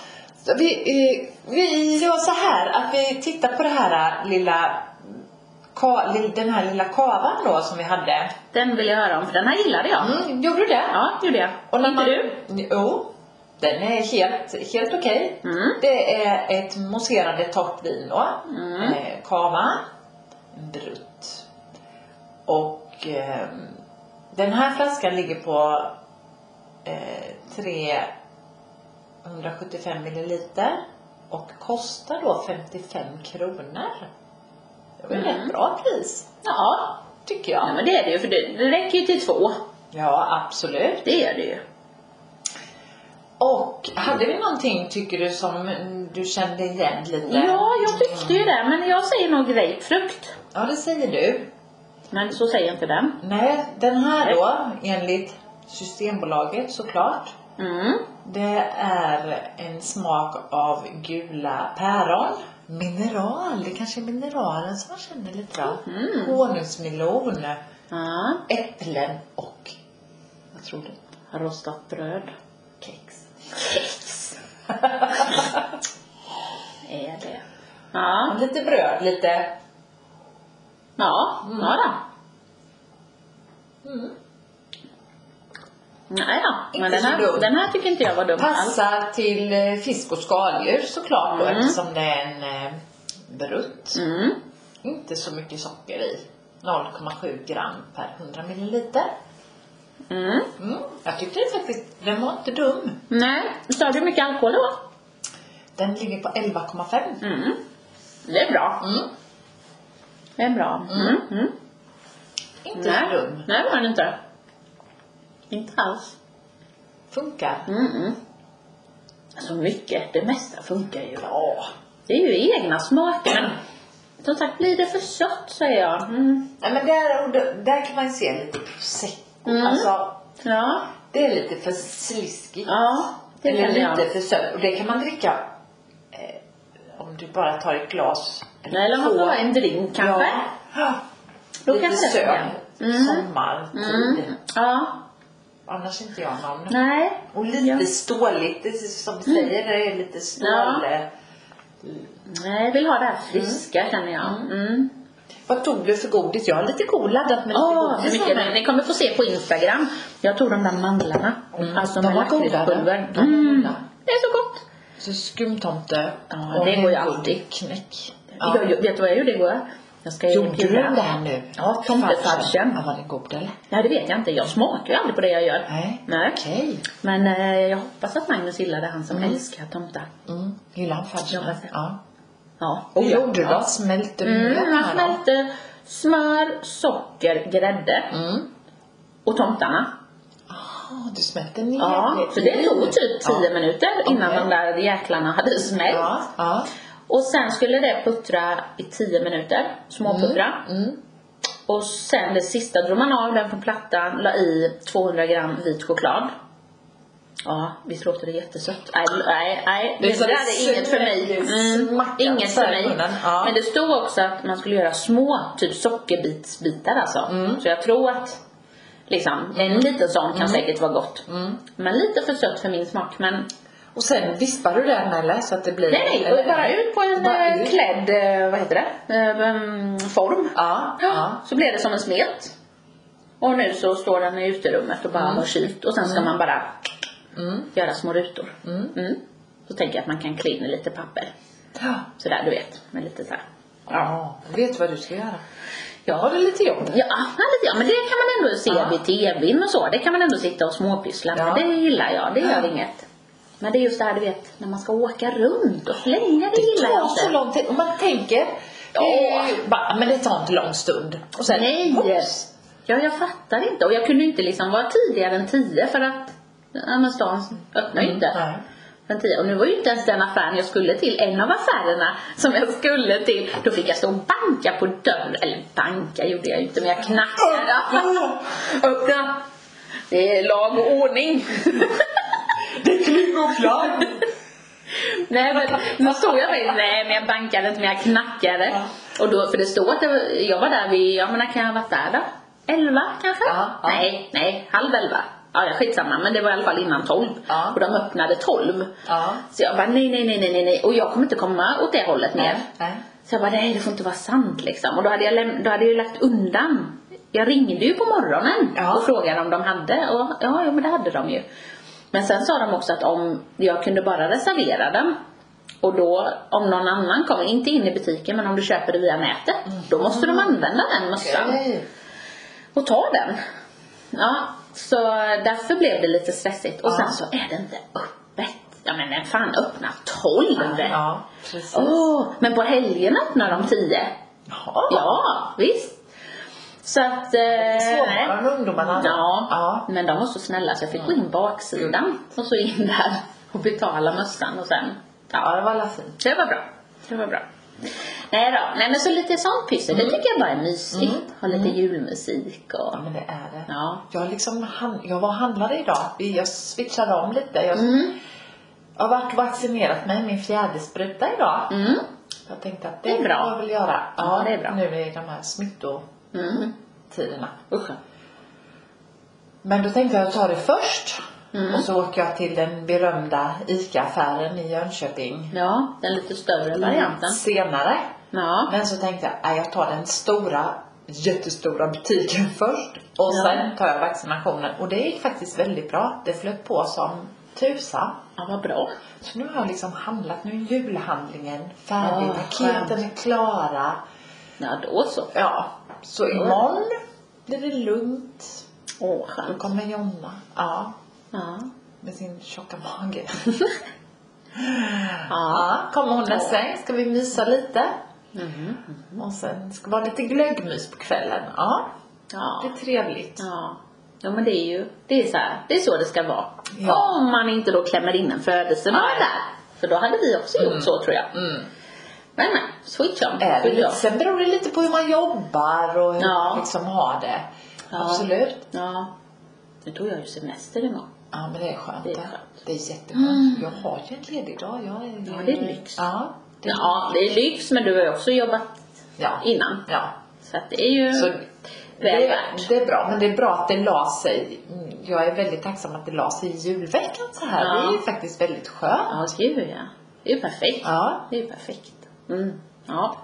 Så Vi, eh, vi gör så här att vi tittar på det här eh, lilla ka- lill- den här lilla kavan då som vi hade. Den vill jag höra om för den här gillade jag. Mm, gjorde du det? Ja, gjorde jag. Och när Inte man, du? Jo, den är helt, helt okej. Mm. Det är ett mousserande torrt vin då. Mm. Eh, Cava. Brut. Och eh, den här flaskan ligger på eh, 375 milliliter och kostar då 55 kronor. Det var ju Mm. ett bra pris, Ja. tycker jag. ja, men det är det ju för det, det räcker ju till två. Ja, absolut. Det gör det ju. Och hade vi någonting, tycker du, som du kände igen lite? Ja, jag tyckte ju det, men jag säger nog grapefrukt. Mm. Ja, det säger du. Men så säger inte den. Nej, den här då, enligt Systembolaget såklart. Mm. Det är en smak av gula päron. Mineral, det kanske är mineralen som man känner lite av. Mm. Honungsmelon, Ja. äpplen och, vad tror du? Rostat bröd. Kex. Är det. Ja. Lite bröd, lite... Ja, Mm. ja då. Mm. Nej då. Men Inte den så här, dum. den här tycker inte jag var dum alls. Passa till eh, fisk och skaldjur såklart då Mm. eftersom det är en eh, brutt. Mm. Inte så mycket socker i. 0,7 gram per 100 milliliter. Mm. Mm. Jag tyckte faktiskt den var inte dum. Nej. Sa du mycket alkohol det var? Den ligger på 11,5. Mm. Det är bra. Mm. Det är bra. Mm. Mm. Inte Nej. så dum. Nej, det var den inte. Inte alls. Funkar. Mm. mm. Så Alltså, mycket. Det mesta funkar ju. Ja. Det är ju egna smaker. Men som sagt, blir det för sött säger jag. Mm. Nej, men där, och då- där kan man ju se lite prosecco. Mm. Alltså, Ja. det är lite för sliskigt. Ja. Det Eller känner lite jag. för sött. Och det kan man dricka eh, om du bara tar ett glas. Nej, eller om man två. får ha en drink kanske. Ja. Då Lite kanske det sömn. funkar. Mm. Sommartid. Mm. Ja. Annars inte jag någon. Nej. Och lite Ja. Mm. ståligt. Det är som du säger, det är lite stål. Ja. Nej, jag vill ha det här friska känner jag. Mm. Vad tog du för godis? Jag har lite god laddat med lite Åh, godis. hur mycket hemma. ni, ni kommer få se på Instagram. Jag tog de där mandlarna. Mm. Alltså De med var goda, lakritspulver. de. De var Mm. goda. Det är så gott. Så skumtomte. Ja, det går ju alltid. Knäck. Ja. Jag, jag, vet du vad jag gjorde igår? Jag ska ju Gjorde du bjuda- den där nu? Ja, tomtefarsen. Ja, var den god eller? Nej, det vet jag inte. Jag smakar ju aldrig på det jag gör. Nej. Nej. Okej. Men eh, jag hoppas att Magnus gillade han som Mm. älskar tomtar. Mm. Gillar han Ja, farsen? varför? Ja. Ja. Och gjorde du ja. då? Smälte du Mm, mjölk han här då? smälte smör, socker, grädde Mm. och tomtarna. Ah, du smälte ner Ja, så det tog typ 10 minuter innan Okej. de där jäklarna hade smält. Ja, ja. Och sen skulle det puttra i 10 minuter, småputtra. Mm. Och sen det sista drog man av den från plattan, la i 200 gram vit choklad. Ja, visst låter det jättesött? Nej, nej, nej. Det är Det, så där är inget för mig. Mm, smackat inget för mig. särkunden, ja. Men det stod också att man skulle göra små typ sockerbitsbitar alltså. Mm. Så jag tror att liksom, en liten sån kan säkert vara gott. Mm. Men lite för sött för min smak. Men Och sen vispar du den eller? Så att det blir... nej, nej. Och bara ut på en Bara eh, ut. klädd, eh, vad heter det, Eh, mm, form. Ja, ja. Så blev det som en smet. Och nu så står den i uterummet och bara har kylt och sen ska man bara Mm. göra små rutor. Mm. Mm. Så tänker jag att man kan klä in i lite papper. Ja. Sådär du vet, med lite såhär. Ja. Vet du vad du ska göra? Ja. Har du lite jobb? Ja, nej, lite, ja, men det kan man ändå se Ja. vid tvn och så. Det kan man ändå sitta och småpyssla med. Ja. Det gillar jag, det gör Ja. inget. Men det är just det här du vet, när man ska åka runt och slänga, det, Det gillar jag tar inte. så lång tid. Om man tänker, Ja. eh, bara, men det tar inte lång stund. Och sen, Nej! Oops. Ja, jag fattar inte. Och jag kunde inte liksom vara tidigare än 10 för att ja, men stan öppnar ju inte. Nej. Sen 10. Och nu var ju inte ens den affären jag skulle till, en av affärerna som jag skulle till. Då fick jag stå och banka på dörren. Eller banka gjorde jag ju inte, men jag knackade. Öppna! Det är lag och ordning. Det klingar klart. Nej men nu stod jag med, nej men jag bankade inte men jag knackade. Och då, för det står att det var, jag var där vid, ja men när kan jag ha varit där då? Elva kanske? Ja, ja. Nej, nej, halv elva. Ja, ja skitsamma men det var i alla fall innan tolv. Ja. Och de öppnade tolv. Ja. Så jag bara nej, nej, nej, nej, nej, nej. Och jag kommer inte komma åt det hållet mer. Nej. Så jag bara, nej det får inte vara sant liksom. Och då hade jag, läm- då hade jag ju lagt undan. Jag ringde ju på morgonen Ja. och frågade om de hade och ja, jo, men det hade de ju. Men sen sa de också att om jag kunde bara reservera dem och då om någon annan kommer, inte in i butiken men om du köper det via nätet, då måste de använda den mössan Mm. Okej. och ta den. Ja, så därför blev det lite stressigt. Och Ja. sen så är det inte öppet. Ja men vem fan öppnar 12? Ja, precis. Åh, men på helgen öppnar de 10. Jaha. Ja, visst. Så att... Eh, Svårare än ungdomarna då. Ja. Ja. men de var så snälla så jag fick gå in baksidan och så in där och betala mössan och sen... ja, det var alla fint. Det var bra. Det var bra. Nej då, nej men så lite sånt pyssel, det tycker jag bara är mysigt. Ha lite julmusik och... Ja, men det är det. Ja. Jag, liksom, han- jag var och handlade idag. Vi- Jag switchade om lite. Jag, Mm. jag har varit och vaccinerat mig, min fjärde spruta idag. Mm. Jag tänkte att det, Det är bra. får jag väl göra. Ja, det är bra. Nu i de här smittotiderna. Mm. Usch. Men då tänkte jag ta det först. Mm. Och så åker jag till den berömda ICA-affären i Jönköping. Ja, den lite större varianten. Senare. Ja. Men så tänkte jag, nej jag tar den stora, jättestora butiken först. Och Ja. sen tar jag vaccinationen. Och det gick faktiskt väldigt bra. Det flöt på som tusan. ja, vad bra. Så nu har jag liksom handlat, nu är julhandlingen färdig, Ja, paketen är klara. Ja, då så. Ja, så imorgon blir det lugnt. Åh, vad Då skönt. kommer Jonna. Ja, Ja. med sin tjocka mage. Ja. Ja, kommer hon med sig. Ska vi mysa lite. Mhm. Och sen ska det vara lite glöggmys på kvällen. Ja, det Ja. är trevligt. Ja. Ja, men det är ju, det är så här, det är så det ska vara. Ja. Om man inte då klämmer in en födelsedag Nej. där. För då hade vi också gjort så tror jag. Mm. Men nej, switch on. Är det Switch lite, off. sen beror det lite på hur man jobbar och hur Ja. man liksom har det. Ja. Absolut. Ja. Nu tog jag ju semester imorgon. Ja, men det är skönt. Det är det. skönt. Mm. Det är jätteskönt. Jag har ju en ledig dag. Jag är... Ja, det är lyx. Ja, det är... Ja, det är lyx men du har ju också jobbat ja. innan. ja. Så att det är ju Så väl det, värt. det är bra, men det är bra att det la sig. Mm, Jag är väldigt tacksam att det la sig i julveckan så här. Ja. Det är ju faktiskt väldigt skönt. Ja, gud ja. Det är ju perfekt. Ja. Det är ju perfekt. Mm. Ja.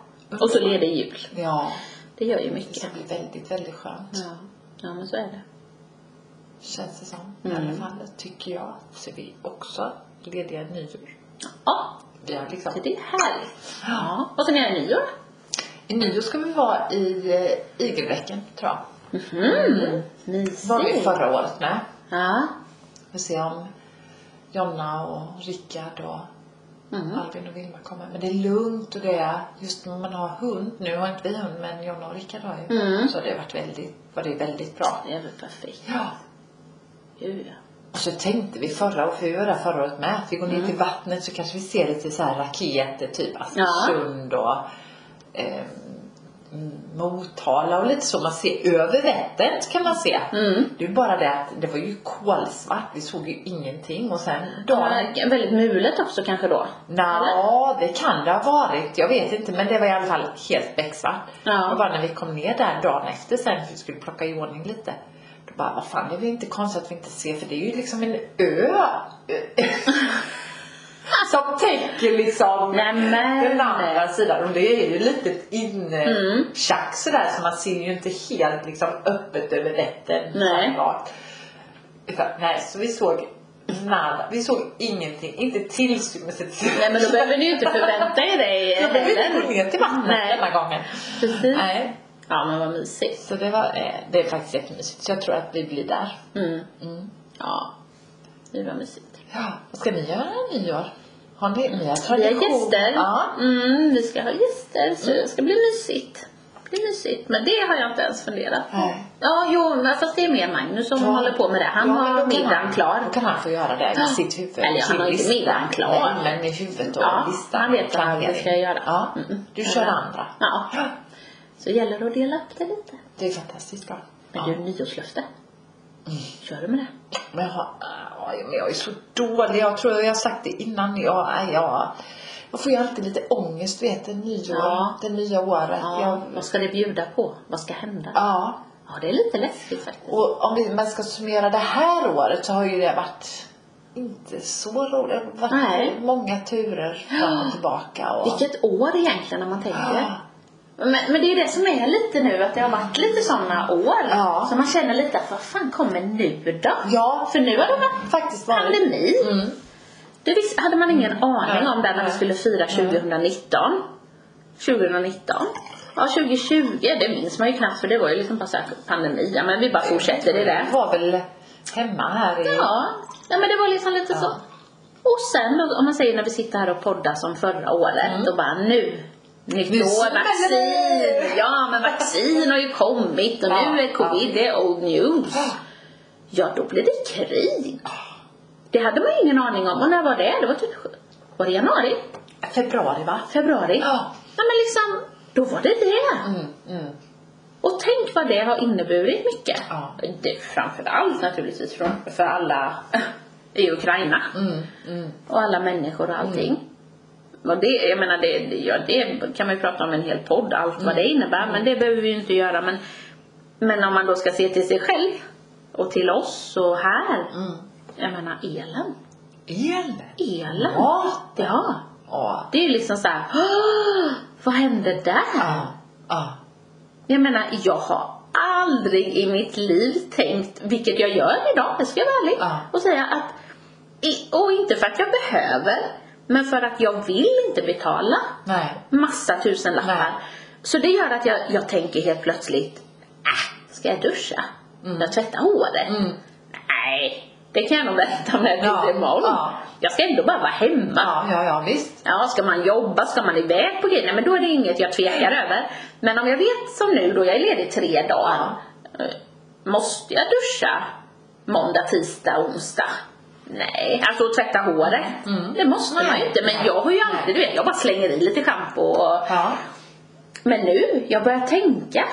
Och så leder jul. Ja, Det gör ju det mycket. ska bli väldigt, väldigt skönt. Ja. ja, men så är det. Känns det som. I Mm. alla fall tycker jag. Så vi är också lediga nyår. Ja, Vi har liksom... så det är härligt. Ja. Vad ska ni göra i nyår? I nyår ska vi vara i eh, igelbäcken, tror jag. Mm. var vi Mysigt. förra året med. Ja. Vi får se om Jonna och Rickard och Mm. Albin och Vilma kommer. Men det är lugnt och det är just när man har hund. Nu har inte vi hund men Jonna och Rickard har ju. Mm. Så det har varit väldigt, var det väldigt bra. Det är väl perfekt. Ja. Gud ja. Och så tänkte vi förra året, för vi var där förra året med, att vi går Mm. ner till vattnet så kanske vi ser lite så här raketer, typ Askersund och eh, Motala och lite så. Man ser över Vättern kan man se. Mm. Det är bara det att det var ju kolsvart, vi såg ju ingenting och sen dagen Ja, väldigt mulet också kanske då. Nja, det kan det ha varit. Jag vet inte men det var i alla fall helt becksvart. Ja. Och bara när vi kom ner där dagen efter sen för vi skulle plocka i ordning lite. Då bara, vad fan det är väl inte konstigt att vi inte ser för det är ju liksom en ö. Som täcker liksom Nämen. den andra sidan. Och det är ju lite inne Mm. tjack sådär så man ser ju inte helt liksom öppet över Vättern. Nej. Rakt. Utan, nej, så vi såg nada. Vi såg ingenting. Inte tillstymmelse till Nej men då behöver ni ju inte förvänta er det Jag behöver inte gå ner till vattnet Nej. denna gången. Precis. Nej. Ja men vad mysigt. Så det, var, eh, det är faktiskt jättemysigt. Så jag tror att vi blir där. Mm. Mm. Ja. Det var mysigt. Ja, vad ska ni göra i nyår? Har ni, ni har Vi har tradition? gäster. Ja. Mm. Mm, vi ska ha gäster så det ska bli mysigt. Det blir mysigt. Men det har jag inte ens funderat på. Nej. Ja, jo, men fast det är mer Magnus som Ja. håller på med det. Han Ja, men har då kan middagen han- klar. Då kan han få göra det i Ja. sitt huvud. Eller han har Sin inte lista. middagen klar. Nej, men i huvudet och Ja, listan. han vet vad han planering. ska göra. Ja. Mm. Du kör Ja. andra. Ja. Så gäller det att dela upp det lite. Det är fantastiskt bra. Men Ja. Mm. du, nyårslöfte. Kör du med det? Men jag, har, aj, men jag är så dålig. Jag tror jag har sagt det innan. Jag, aj, jag, jag får ju alltid lite ångest, vet du, nyår, Ja. det nya året. Ja. Jag, Vad ska det bjuda på? Vad ska hända? Ja, ja. det är lite läskigt faktiskt. Och om vi, man ska summera det här året så har ju det varit inte så roligt. Det har varit Nej. många turer fram och tillbaka. Och... Vilket år egentligen om man tänker. Ja. Men, men det är ju det som är lite nu, att det har varit lite sådana år. Ja. Så man känner lite att vad fan kommer nu då? Ja, För nu har det varit faktiskt varit... pandemi. Mm. Det visst, hade man ingen aning Nej. om där när vi Nej. skulle fira 2019. 2019. Ja, 2020, det minns man ju knappt för det var ju liksom bara så här pandemi. Ja, men vi bara fortsätter, det är det. Vi var väl hemma här i... Ja, ja men det var liksom lite så. Och sen då, om man säger när vi sitter här och poddar som förra året och bara nu, nytt Mm. Nu år, smäller vaccin. det! Ja men vaccin har ju kommit och Ja, nu är covid, det är old news. Ja då blev det krig. Det hade man ju ingen aning om. Och när var det? Det var typ, var det januari? Februari va? Februari? Ja. Ja men liksom, då var det det. Mm, mm. Och tänk vad det har inneburit mycket. Ja. Det, framförallt naturligtvis för, för alla i Ukraina. Mm, mm. Och alla människor och allting. Mm. Och det, jag menar det, det- ja, det kan man ju prata om i en hel podd, allt vad det innebär. Men det behöver vi ju inte göra. Men, men om man då ska se till sig själv och till oss och här. Mm. Jag menar elen. El? Elen. Ja. Ja. Ja. Det är ju liksom så här. "Åh, Vad hände där? Ja. Ja. Jag menar, jag har aldrig i mitt liv tänkt, vilket jag gör idag, det ska jag vara ärlig Ja. och säga att, i- och inte för att jag behöver, men för att jag vill inte betala Nej. massa tusenlappar. Nej. Så det gör att jag, jag tänker helt plötsligt, äh, ska jag duscha? Jag tvättar håret? Mm. Nej, det kan jag nog vänta med till Ja, imorgon. ja. Jag ska ändå bara vara hemma. Ja, ja, ja visst. Ja, ska man jobba, ska man iväg på grejer, Nej, men då är det inget jag tvekar över. Men om jag vet som nu då, jag är ledig tre dagar. eh, Måste jag duscha måndag, tisdag, onsdag? Nej, alltså och tvätta håret. Mm. Det måste man ju Nej. inte, men jag har ju alltid, du vet, jag bara slänger i lite schampo och... Ja. Men nu, jag börjar tänka.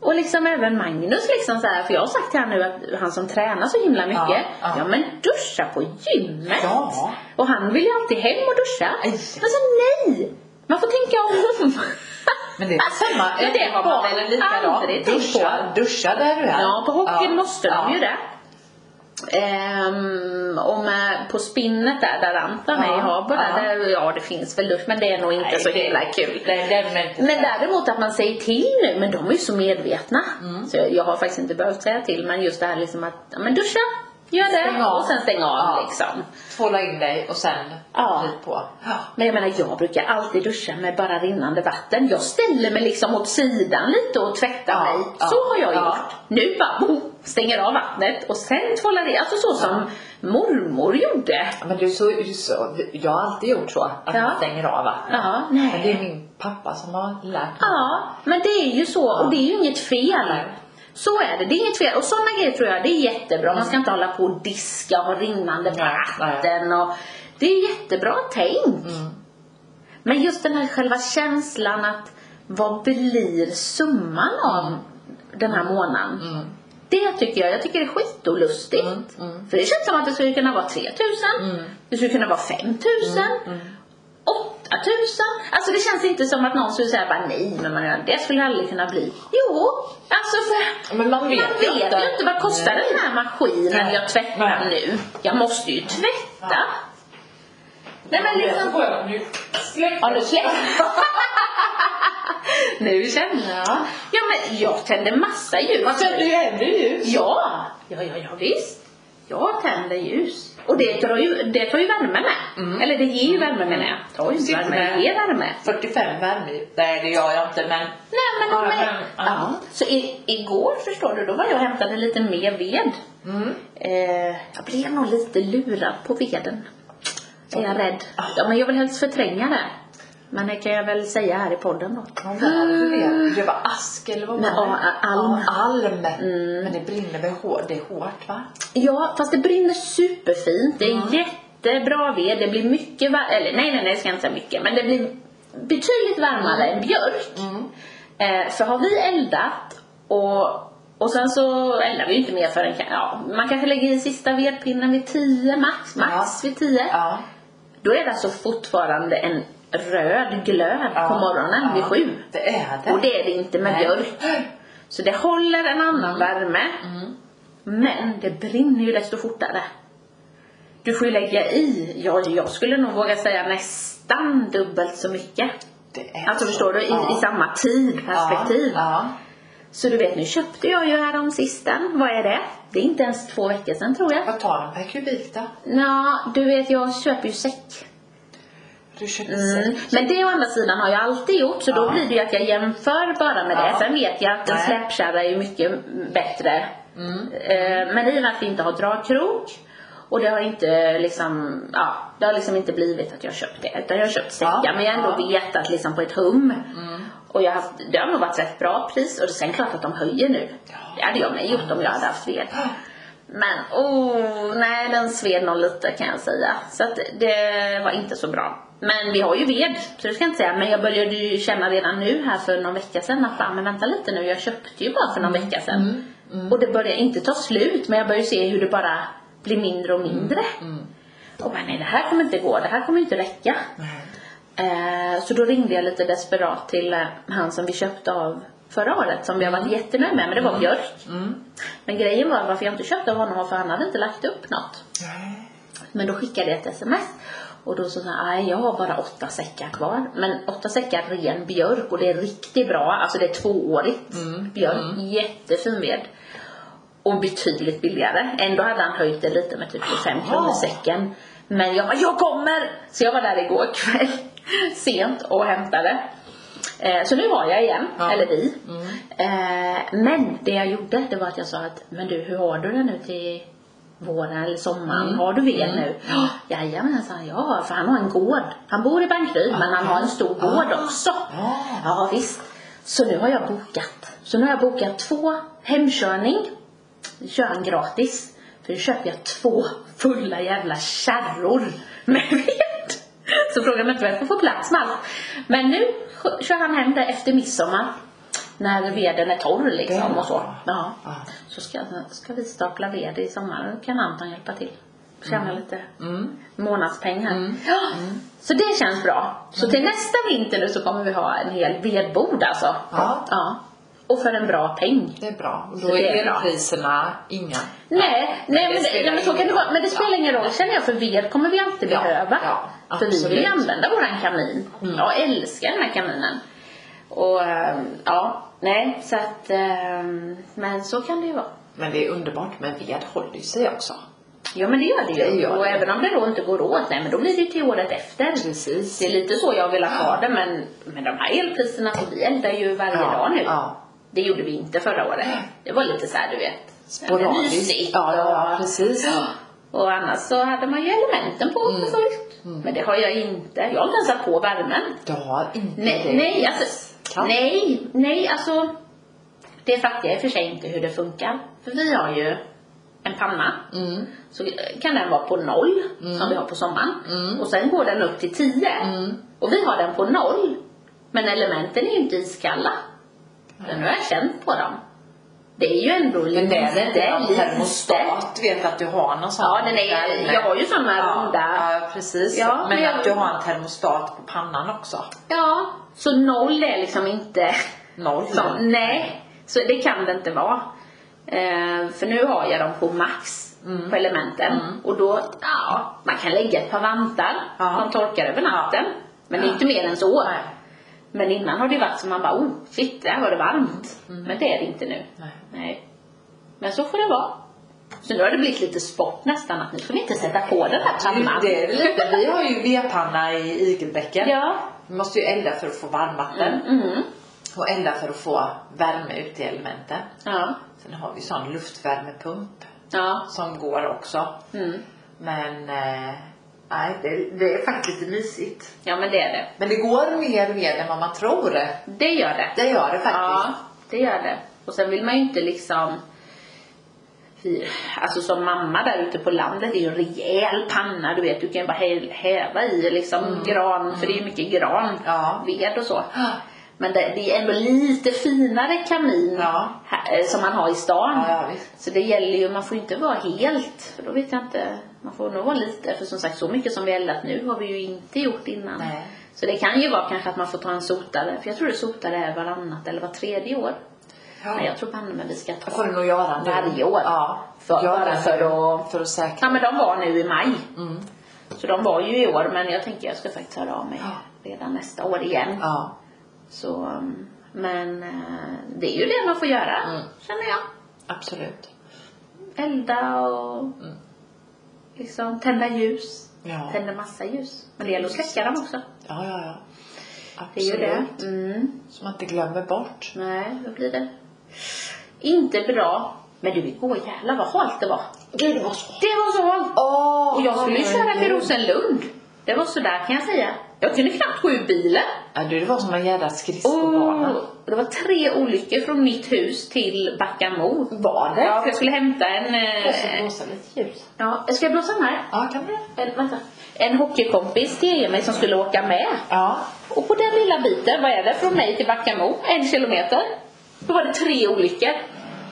Och liksom även Magnus liksom så här, för jag har sagt till han nu att han som tränar så himla mycket, ja, Ja, ja. men duscha på gymmet. Ja. Och han vill ju alltid hem och duscha. Aj. Alltså nej! Man får tänka om. Men det är samma. Alltså, Men det har man Barnen väl är likadant. aldrig tänkt på. Duscha, duscha där du är. Ja, på hockeyn Ja. måste de Ja. ju det. Ehm, och med, på spinnet där, där Anton är i Ja, Habo, där, ja. där, ja det finns väl dusch men det är nog inte Nej, så det- himla kul. Nej, det är inte Men däremot att man säger till nu, men de är ju så medvetna. Mm. Så jag, jag har faktiskt inte behövt säga till, men just det här liksom att, ja, men duscha, gör det Stäng av. och sen stäng av Ja. liksom. Tvåla in dig och sen Ja. vrid på. Ja. Men jag menar, jag brukar alltid duscha med bara rinnande vatten. Jag ställer mig liksom åt sidan lite och tvättar Ja, mig. ja, så har jag ja. gjort. Nu bara boom, stänger av vattnet och sen tvålar det. Alltså så som mormor gjorde. Men du, så, så, jag har alltid gjort så. Att Ja. man stänger av vattnet. Ja, Men det är min pappa som har lärt mig. Ja, men det är ju så och det är ju inget fel. Nej. Så är det, det är inget fel. Och sådana grejer tror jag, det är jättebra. Man ska inte hålla på och diska och ha rinnande Nej, vatten och Det är jättebra tänk. Mm, Men just den här själva känslan att vad blir summan av den här månaden? Mm. Det tycker jag, jag tycker det är skitolustigt. Mm, mm. För det känns som att det skulle kunna vara 3000, Mm. det skulle kunna vara 5000, 8000. Alltså det känns inte som att någon skulle säga bara nej, men man, det skulle aldrig kunna bli. Jo, alltså för Men man vet, man vet ju inte vad kostar den här maskinen Nej. jag tvättar Nej. nu. Jag måste ju tvätta. Ja. Nej men liksom Nu släpper Ja, nu släpper Nu känner jag. Ja, men jag tänder massa ljus. Man sätter ju ännu ljus. Ja, ja, ja, ja visst. Jag tänder ljus. Och det tar ju, det tar ju värme med. Mm. Eller det ger ju värme menar jag. Tar ju inte Sitter värme, med. det ger värme. 45 värme. Nej, det gör jag inte, men... Nej men, Ja, men men, ja. ja. Så i, igår förstår du, då var jag och hämtade lite mer ved. Mm. Eh, jag blev nog lite lurad på veden. Är jag rädd. Ja men jag vill helst förtränga det. Men det kan jag väl säga här i podden då. Vad var det för ved? Det var ask eller vad var Men, det? Ah. ja, a- alm. Mm. Ja, alm. Men det brinner väl hårt? Det är hårt, va? Ja, fast det brinner superfint. Det är jättebra ved. Det blir mycket var- eller nej, nej, nej, jag ska inte säga mycket. Men det blir betydligt varmare än björk. Mm. Eh, för har vi eldat och, och sen så eldar vi ju inte mer förrän, ka- ja, man kanske lägger i sista vedpinnen vid 10 max, max vid 10. Ja. Då är det alltså fortfarande en röd glöd ja. på morgonen ja. vid 7. Det är det. Och det är det inte med Nej. björk. Så det Mm. håller en annan värme. Men det brinner ju desto fortare. Du får ju lägga i, ja, jag skulle nog våga säga nästan dubbelt så mycket. Det är Alltså så. förstår du, i, Ja. i samma tid, perspektiv. Ja. Så du vet, nu köpte jag ju härom sisten. Vad är det? Det är inte ens två veckor sedan tror ja. jag. Vad tar den per kubik då? Nå, du vet jag köper ju säck. Du köper Mm. säck. Men det å andra sidan har jag alltid gjort så då Ja. blir det ju att jag jämför bara med Ja. det. Sen vet jag att en Nej. Mm. släpkärra är ju mycket bättre. Eh, Men i och med att vi inte har dragkrok och det har inte liksom, ja, det har liksom inte blivit att jag köpt det. Utan jag har köpt säckar Ja. men jag har ändå Ja. Mm. vetat liksom på ett hum. Och jag har haft, det har nog varit ett bra pris och sen klart att de höjer nu. Ja. Det hade jag med gjort om jag hade haft ved. Ja. Men oh, nej den sved nog lite kan jag säga. Så att det var inte så bra. Men vi har ju ved, så det ska jag inte säga. Men jag började ju känna redan nu här för någon vecka sedan att fan, men vänta lite nu, jag köpte ju bara för någon vecka sedan. Och det började inte ta slut, men jag började se hur det bara blir mindre och mindre. Och bara, nej det här kommer inte gå, det här kommer inte räcka. Nej. Eh, så då ringde jag lite desperat till eh, han som vi köpte av förra året som vi har varit jättenöjda med, men det var Björk. Mm. Men grejen var varför jag inte köpte av honom var för han hade inte lagt upp något. Nej. Men då skickade jag ett sms och då så sa han, "Aj, jag har bara åtta säckar kvar. Men åtta säckar ren björk och det är riktigt bra, alltså det är tvåårigt Mm. björk, jättefin ved. Och betydligt billigare. Ändå hade han höjt det lite med typ 25 kronor säcken. Men jag bara, jag kommer! Så jag var där igår kväll, sent, och hämtade. Eh, så nu var jag igen, Ja. eller vi. Eh, men det jag gjorde, det var att jag sa att, men du hur har du det nu till våren eller sommaren? Har du ved nu? Ja, Jajamän, sa han, ja, för han har en gård. Han bor i Bankeryd, men han har en stor gård också. Ja. Ja, visst. Så nu har jag bokat. Så nu har jag bokat två hemkörning. Kör han gratis. För nu köper jag två fulla jävla kärror med ved. Så frågan är inte vad jag ska få plats med allt. Men nu sk- kör han hem det efter midsommar. När veden är torr liksom och så. Ja. Ja. Så ska, ska vi stapla ved i sommar. Då kan Anton hjälpa till. Tjäna lite Mm. månadspeng här. Ja, Så det känns bra. Mm. Så till nästa vinter nu så kommer vi ha en hel vedbord alltså. Ja. Och för en bra peng. Det är bra. Och Så då det är är bra. elpriserna inga. Nej, nej, men, det spelar nej men så kan det ingen vara. Men det roll. spelar Ja. ingen roll känner jag för ved kommer vi alltid Ja, behöva. ja, för vi vill ju absolut. Mm. använda våran kamin. Jag älskar den här kaminen. Och ehm, ja, nej så att ehm, men så kan det ju vara. Men det är underbart med ved håller ju sig också. Ja men det gör det ju. Det gör och det. även om det då inte går åt, nej men då blir det ju till året efter. Precis. Det är lite så jag vill ha det men, men de här elpriserna, så vi eldar ju varje dag nu. Ja. Det gjorde vi inte förra året. Det var lite så här, du vet, Sporadiskt. mysigt Ja, ja, ja, och- precis. Och annars så hade man ju elementen på Mm. för fullt. Men det har jag inte. Jag har inte ens satt på värmen. Du har inte Nej, det. nej, alltså, Kallt. nej, nej, alltså. Det fattar jag i och för sig inte hur det funkar. För vi har ju en panna. Mm. Så kan den vara på noll, som vi har på sommaren. Mm. Och sen går den upp till 10. Mm. Och vi har den på noll. Men elementen är ju inte iskalla. Men nu har jag känt på dem. Det är ju ändå Men det lite, är inte någon lite. termostat, vet att du har någon sån. Ja, den är, värme. jag har ju såna ja, runda. ja, precis. Ja, men men jag- att du har en termostat på pannan också. Ja, så noll är liksom inte Noll. så, Nej, så det kan det inte vara. Eh, för nu har jag dem på max Mm. på elementen. Och då, ja, man kan lägga ett par vantar. Ja. De torkar över natten. Men det är inte mer än så. Nej. Men innan har det varit som man bara, oh shit, där var det varmt. Mm. Men det är det inte nu. Nej. Men så får det vara. Så nu har det blivit lite sport nästan att nu får vi inte sätta på den här pannan. Det är lite, vi har ju vedpanna i igelbäcken. Ja. Vi måste ju elda för att få varmvatten Mm, mm, och elda för att få värme ut i elementen. ja. Sen har vi sån luftvärmepump Ja. som går också. Mm. Men eh, nej, det, det är faktiskt lite mysigt. Ja men det är det. Men det går mer ved än vad man tror. Det gör det. Det gör det faktiskt. Ja, det gör det. Och sen vill man ju inte liksom Fy, Alltså som mamma där ute på landet, det är ju en rejäl panna du vet. Du kan ju bara hä- häva i liksom gran, för det är ju mycket gran, Mm. Ja. ved och så. Ja. Men det, det är ändå lite finare kamin Ja. här, eh, som man har i stan. Ja, ja, visst. så det gäller ju, man får ju inte vara helt, för då vet jag inte. Man får nog vara lite, för som sagt så mycket som vi eldat nu har vi ju inte gjort innan. Nej. Så det kan ju vara kanske att man får ta en sotare, för jag tror det sotare är varannat eller var tredje år. Ja. Men jag tror banne mig vi ska Det får ta du nog göra nu. varje år. Ja. För- Gör bara det nu, för att- För att säkra. Ja men de var nu i maj. Mm. Så de var ju i år men jag tänker jag ska faktiskt höra av mig Ja. redan nästa år igen. Ja. Så, um, men eh, det är ju det man får göra Mm. känner jag. Absolut. Elda och Mm. liksom tända ljus. Ja. Tända massa ljus. Men det gäller att släcka dem också. Ja, ja, ja. Det är Absolut. ju det. Mm. Så man inte glömmer bort. Nej, vad blir det? Inte bra. Men du, igår jävlar vad halt det var. Gud, det var så... Det var så halt! Åh! Och jag skulle ju köra till herregud. Rosenlund. Det var sådär kan jag säga. Jag kunde knappt gå ur bilen. Ja, du, det var som en jädra skridskobana. Oh, det var tre olyckor från mitt hus till Backamo. Var det? Ja, för jag skulle hämta en... Jag ska Eh, blåsa lite ljus. ja, ska jag blåsa den här? Ja, kan du det? En, vänta. En hockeykompis till mig som skulle åka med. Ja. Och på den lilla biten, vad är det från mig till Backamo? En kilometer. Då var det tre olyckor.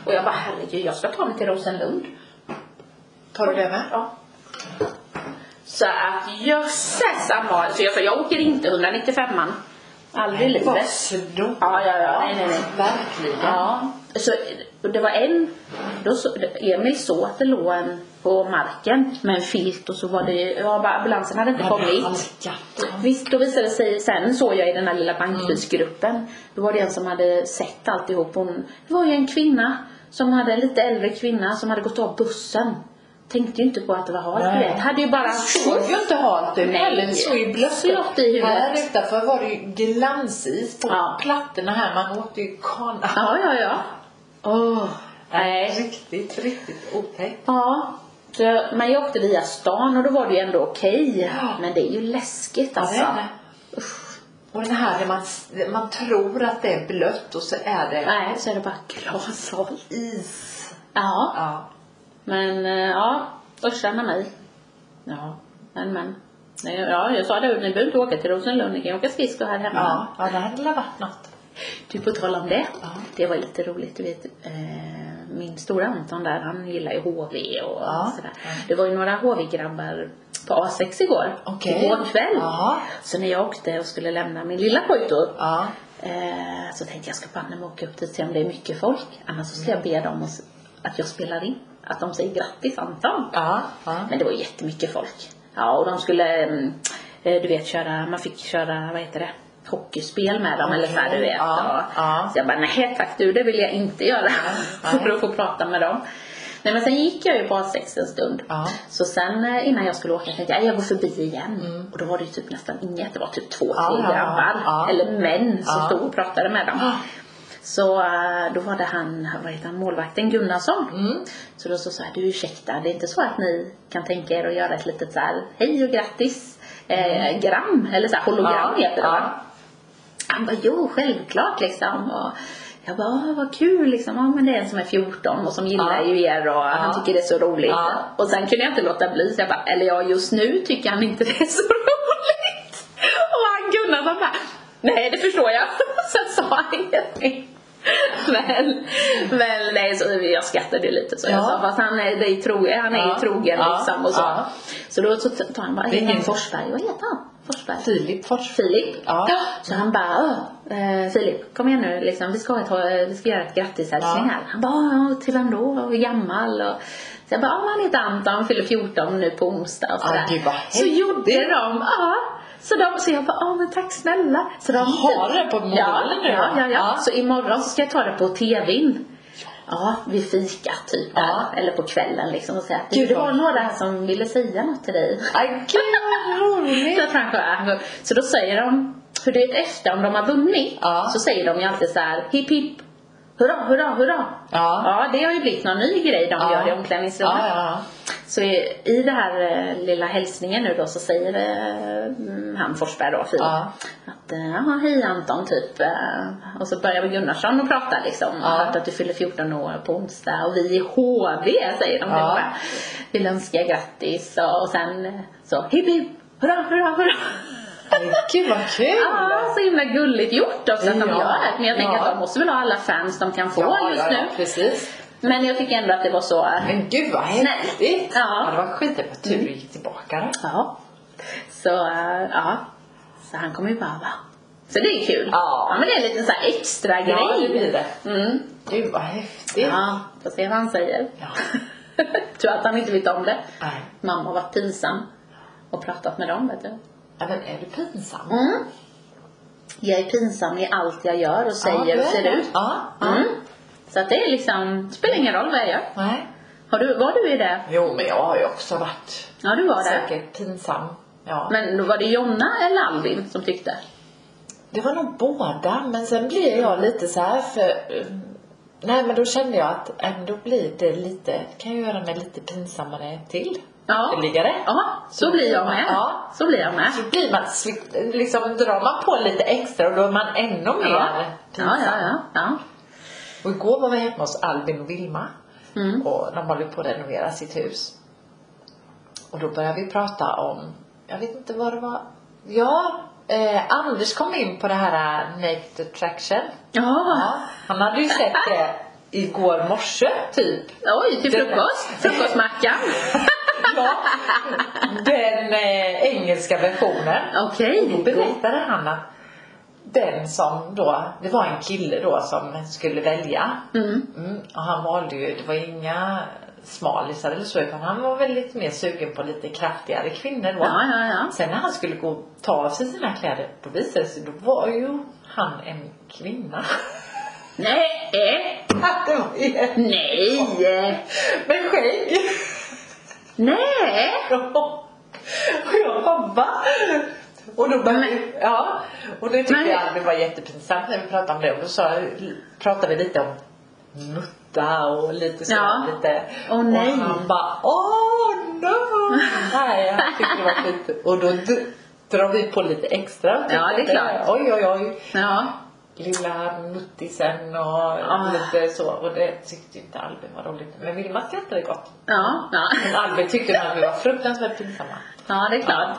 Och jag bara, herregud, jag ska ta mig till Rosenlund. Tar du det med? Ja. Så att jösses Amal, så jag sa, jag åker inte 195an. Aldrig i Det var livet. snor. Ja, ja, ja. Nej, nej, nej. Verkligen. Ja, så och det var en, då så, Emil såg att det låg en på marken med en filt och så var det, ja, bara ambulansen hade inte Jag hade kommit. halkat. Visst, då visade det sig, sen såg jag i den här lilla bankbilsgruppen, då var det en som hade sett alltihop. Hon, det var ju en kvinna, som hade en lite äldre kvinna som hade gått av bussen. Tänkte ju inte på att det var halt Nej. du vet. Hade ju bara... såg ju inte halt ut Nej. heller. Det såg ju blött Slått i huvudet. Här utanför var det ju glansis på Ja. plattorna här. Man åkte ju kana. Ja, ja, ja. Åh, nej. Riktigt, riktigt otäckt. Ja. Så, jag- men jag åkte via stan och då var det ju ändå okej. Ja. Men det är ju läskigt alltså. Ja, det är det. Och den här där man, man tror att det är blött och så är det Nej, så är det bara glashalt. is. Ja, Ja. men eh, ja. Örsanna mig. Ja. Men, men. Nej, ja, jag sa det, ni behöver inte åka till Rosenlund, ni kan åka skridskor här hemma. Ja, ja det hade väl varit något. Du, på tal om det. Ja. Det var lite roligt, du vet. Eh, min stora Anton där, han gillar ju HV och Ja. sådär. Ja. Det var ju några HV-grabbar på A6 igår. Okej. Igår kväll. Ja. Så när jag åkte och skulle lämna min lilla pojk då, Ja. eh, så tänkte jag ska banne mig åka upp dit och se om det är mycket folk. Annars så ska jag be dem att s- att jag spelar in. Att de säger grattis Anton. Ja. ja. Men det var jättemycket folk. Ja, och de skulle, mm, eh, du vet, köra, man fick köra, vad heter det, hockeyspel med dem eller så här, du vet. Ja, och, ja. Så jag bara, nej tack du, det vill jag inte göra. nej. För att få prata med dem. Nej men sen gick jag ju på A6 en stund. Ja. Så sen eh, innan jag skulle åka tänkte jag, "Nej, jag går förbi igen. Och då var det ju typ nästan inget, det var typ två, tre Mm. Ja, ja, ja, grabbar. ja. Eller män som Ja. Ah. stod och pratade med dem. Ja. Så eh, då var det han, vad heter han, målvakten Gunnarsson. Mm. Så då så sa jag, du ursäkta, det är inte så att ni kan tänka er att göra ett litet så här, hej och grattis, eh, gram, eller så här, hologram Mm. Ja, heter det ja. va? Han bara, jo självklart liksom. Och jag bara, "Ah, vad kul liksom. Ja men det är en som är 14 och som gillar Ja. ju er och han Ja. tycker det är så roligt. Ja. Och sen kunde jag inte låta bli så jag bara, eller ja just nu tycker han inte det är så roligt. Och han Gunnar han bara, nej det förstår jag. Sen sa han ingenting. Men, men nej, så jag skrattade ju lite så jag Ja. sa fast han är, det är trogen, han är Ja. ju trogen Ja. liksom och så. Ja. Så då så tar han bara, Det är heter han ingen- Forsberg? Vad heter han? Forsberg? Filip Fors. Filip. Ja. Så han bara, "Åh, eh, Filip kom igen nu liksom, vi ska, ha ett, eh, vi ska göra ett grattishälsning Ja. här. Han bara, "Ja, till vem då? Och hur gammal? Och, så jag bara, "Ja, han heter Anton, han fyller 14 nu på onsdag och Ja, sådär. gud, vad så häftigt. gjorde de, ja. Så, de, så jag bara, ja men tack snälla. Så de Har det på morgonen ja, nu då? ja, ja, ja. Ja. Så imorgon så ska jag ta det på tvn. Ja, vid fika typ Ja. där. Eller på kvällen liksom och säga att Gud, det var vad- några här som ville säga något till dig. Aj, gud vad roligt. Så, att han sjöng. alltså, så då säger de, för du vet efter om de har vunnit, Ja. så säger de ju alltid så här hipp hipp, hurra, hurra, hurra. Ja. ja, det har ju blivit någon ny grej de Ja. gör i omklädningsrummet. Ja, ja, Så i, i den här eh, lilla hälsningen nu då så säger eh, mm, han Forsberg då, Filip, Ja. att eh, ja, hej Anton typ. eh, Och så börjar Gunnarsson att prata liksom. Jag har Ja. Hört att du fyller 14 år på onsdag och vi i HV säger de nu Ja. bara. Vill önska grattis och, och sen eh, så hipp hipp, hurra, hurra, hurra. ja. Aj, gud vad kul. Ja, Ah, så himla gulligt gjort också att de Ja. gör. Men jag tänker Ja. att de måste väl ha alla fans de kan få just ja, Mm. nu. ja, precis. Men jag tycker ändå att det var så eh, Men gud vad Nej. häftigt. Ja. Mm. det var skit. Det var tur du gick tillbaka då. Ja. Så, eh, ja. Så han kommer ju bara, va? Så det är kul. Ja. men det är lite så här extra grej. det blir det. Mm. Gud vad häftigt. Ja, får se vad han säger. Ja. Tror att han inte vet om det. Nej. Mamma har varit pinsam och pratat med dem, vet du. Ja, men är du pinsam? Mm. Jag är pinsam i allt jag gör och Ja, säger du och är ser det. ut. Ja. ja. Mm. Så att det är liksom, det spelar ingen roll vad jag gör. Nej. Har du, var du i det? Jo, men jag har ju också varit Ja, du var det. säkert pinsam. Ja. Men då var det Jonna eller Alvin som tyckte? Det var nog båda, men sen blev jag lite så här för... eh, Nej, men då kände jag att ändå blir det lite... Kan jag göra mig lite pinsammare till? Ja. Ytterligare. Ja, så blir jag med. Ja. Så blir jag med. Så blir man... sli- Liksom drar man på lite extra och då är man ännu mer Ja, ja, pinsam. ja. ja. Och igår var vi hemma hos Albin och Vilma. Mm. Och de håller på att renovera sitt hus. Och då började vi prata om, jag vet inte vad det var. Ja, eh, Anders kom in på det här eh, Naked Attraction. Ja. Ja, han hade ju sett det igår morse typ. Oj, till Det- frukost. Frukostmackan. Ja, den eh, engelska versionen. Okej. Då berättade han att den som då, det var en kille då som skulle välja. Mm. Mm, och han valde ju, det var inga smalisar eller så utan han var väldigt mer sugen på lite kraftigare kvinnor då. Ja, ja, ja. Sen när han skulle gå och ta av sig sina kläder då visade det sig, då var ju han en kvinna. Nej, det var ju- nej, Med skägg! nej. Och jag bara va? Och då bara, ja. Och det tyckte Men- jag det var jättepinsamt när vi pratade om det. Och då sa, pratade vi lite om mutta och lite så. Ja. Lite. Åh, nej. Och han bara, åh no! Nej, jag tyckte det var fint. Och då d- drar vi på lite extra. och Ja, det är tyckte att Oj, oj, oj. Ja. Lilla muttisen och Ah. lite så. Och det tyckte inte Albin var roligt. Men Vilma skrattade gott. Ja, ja. Men Albin tyckte att vi var fruktansvärt pinsamma. ja, det är klart.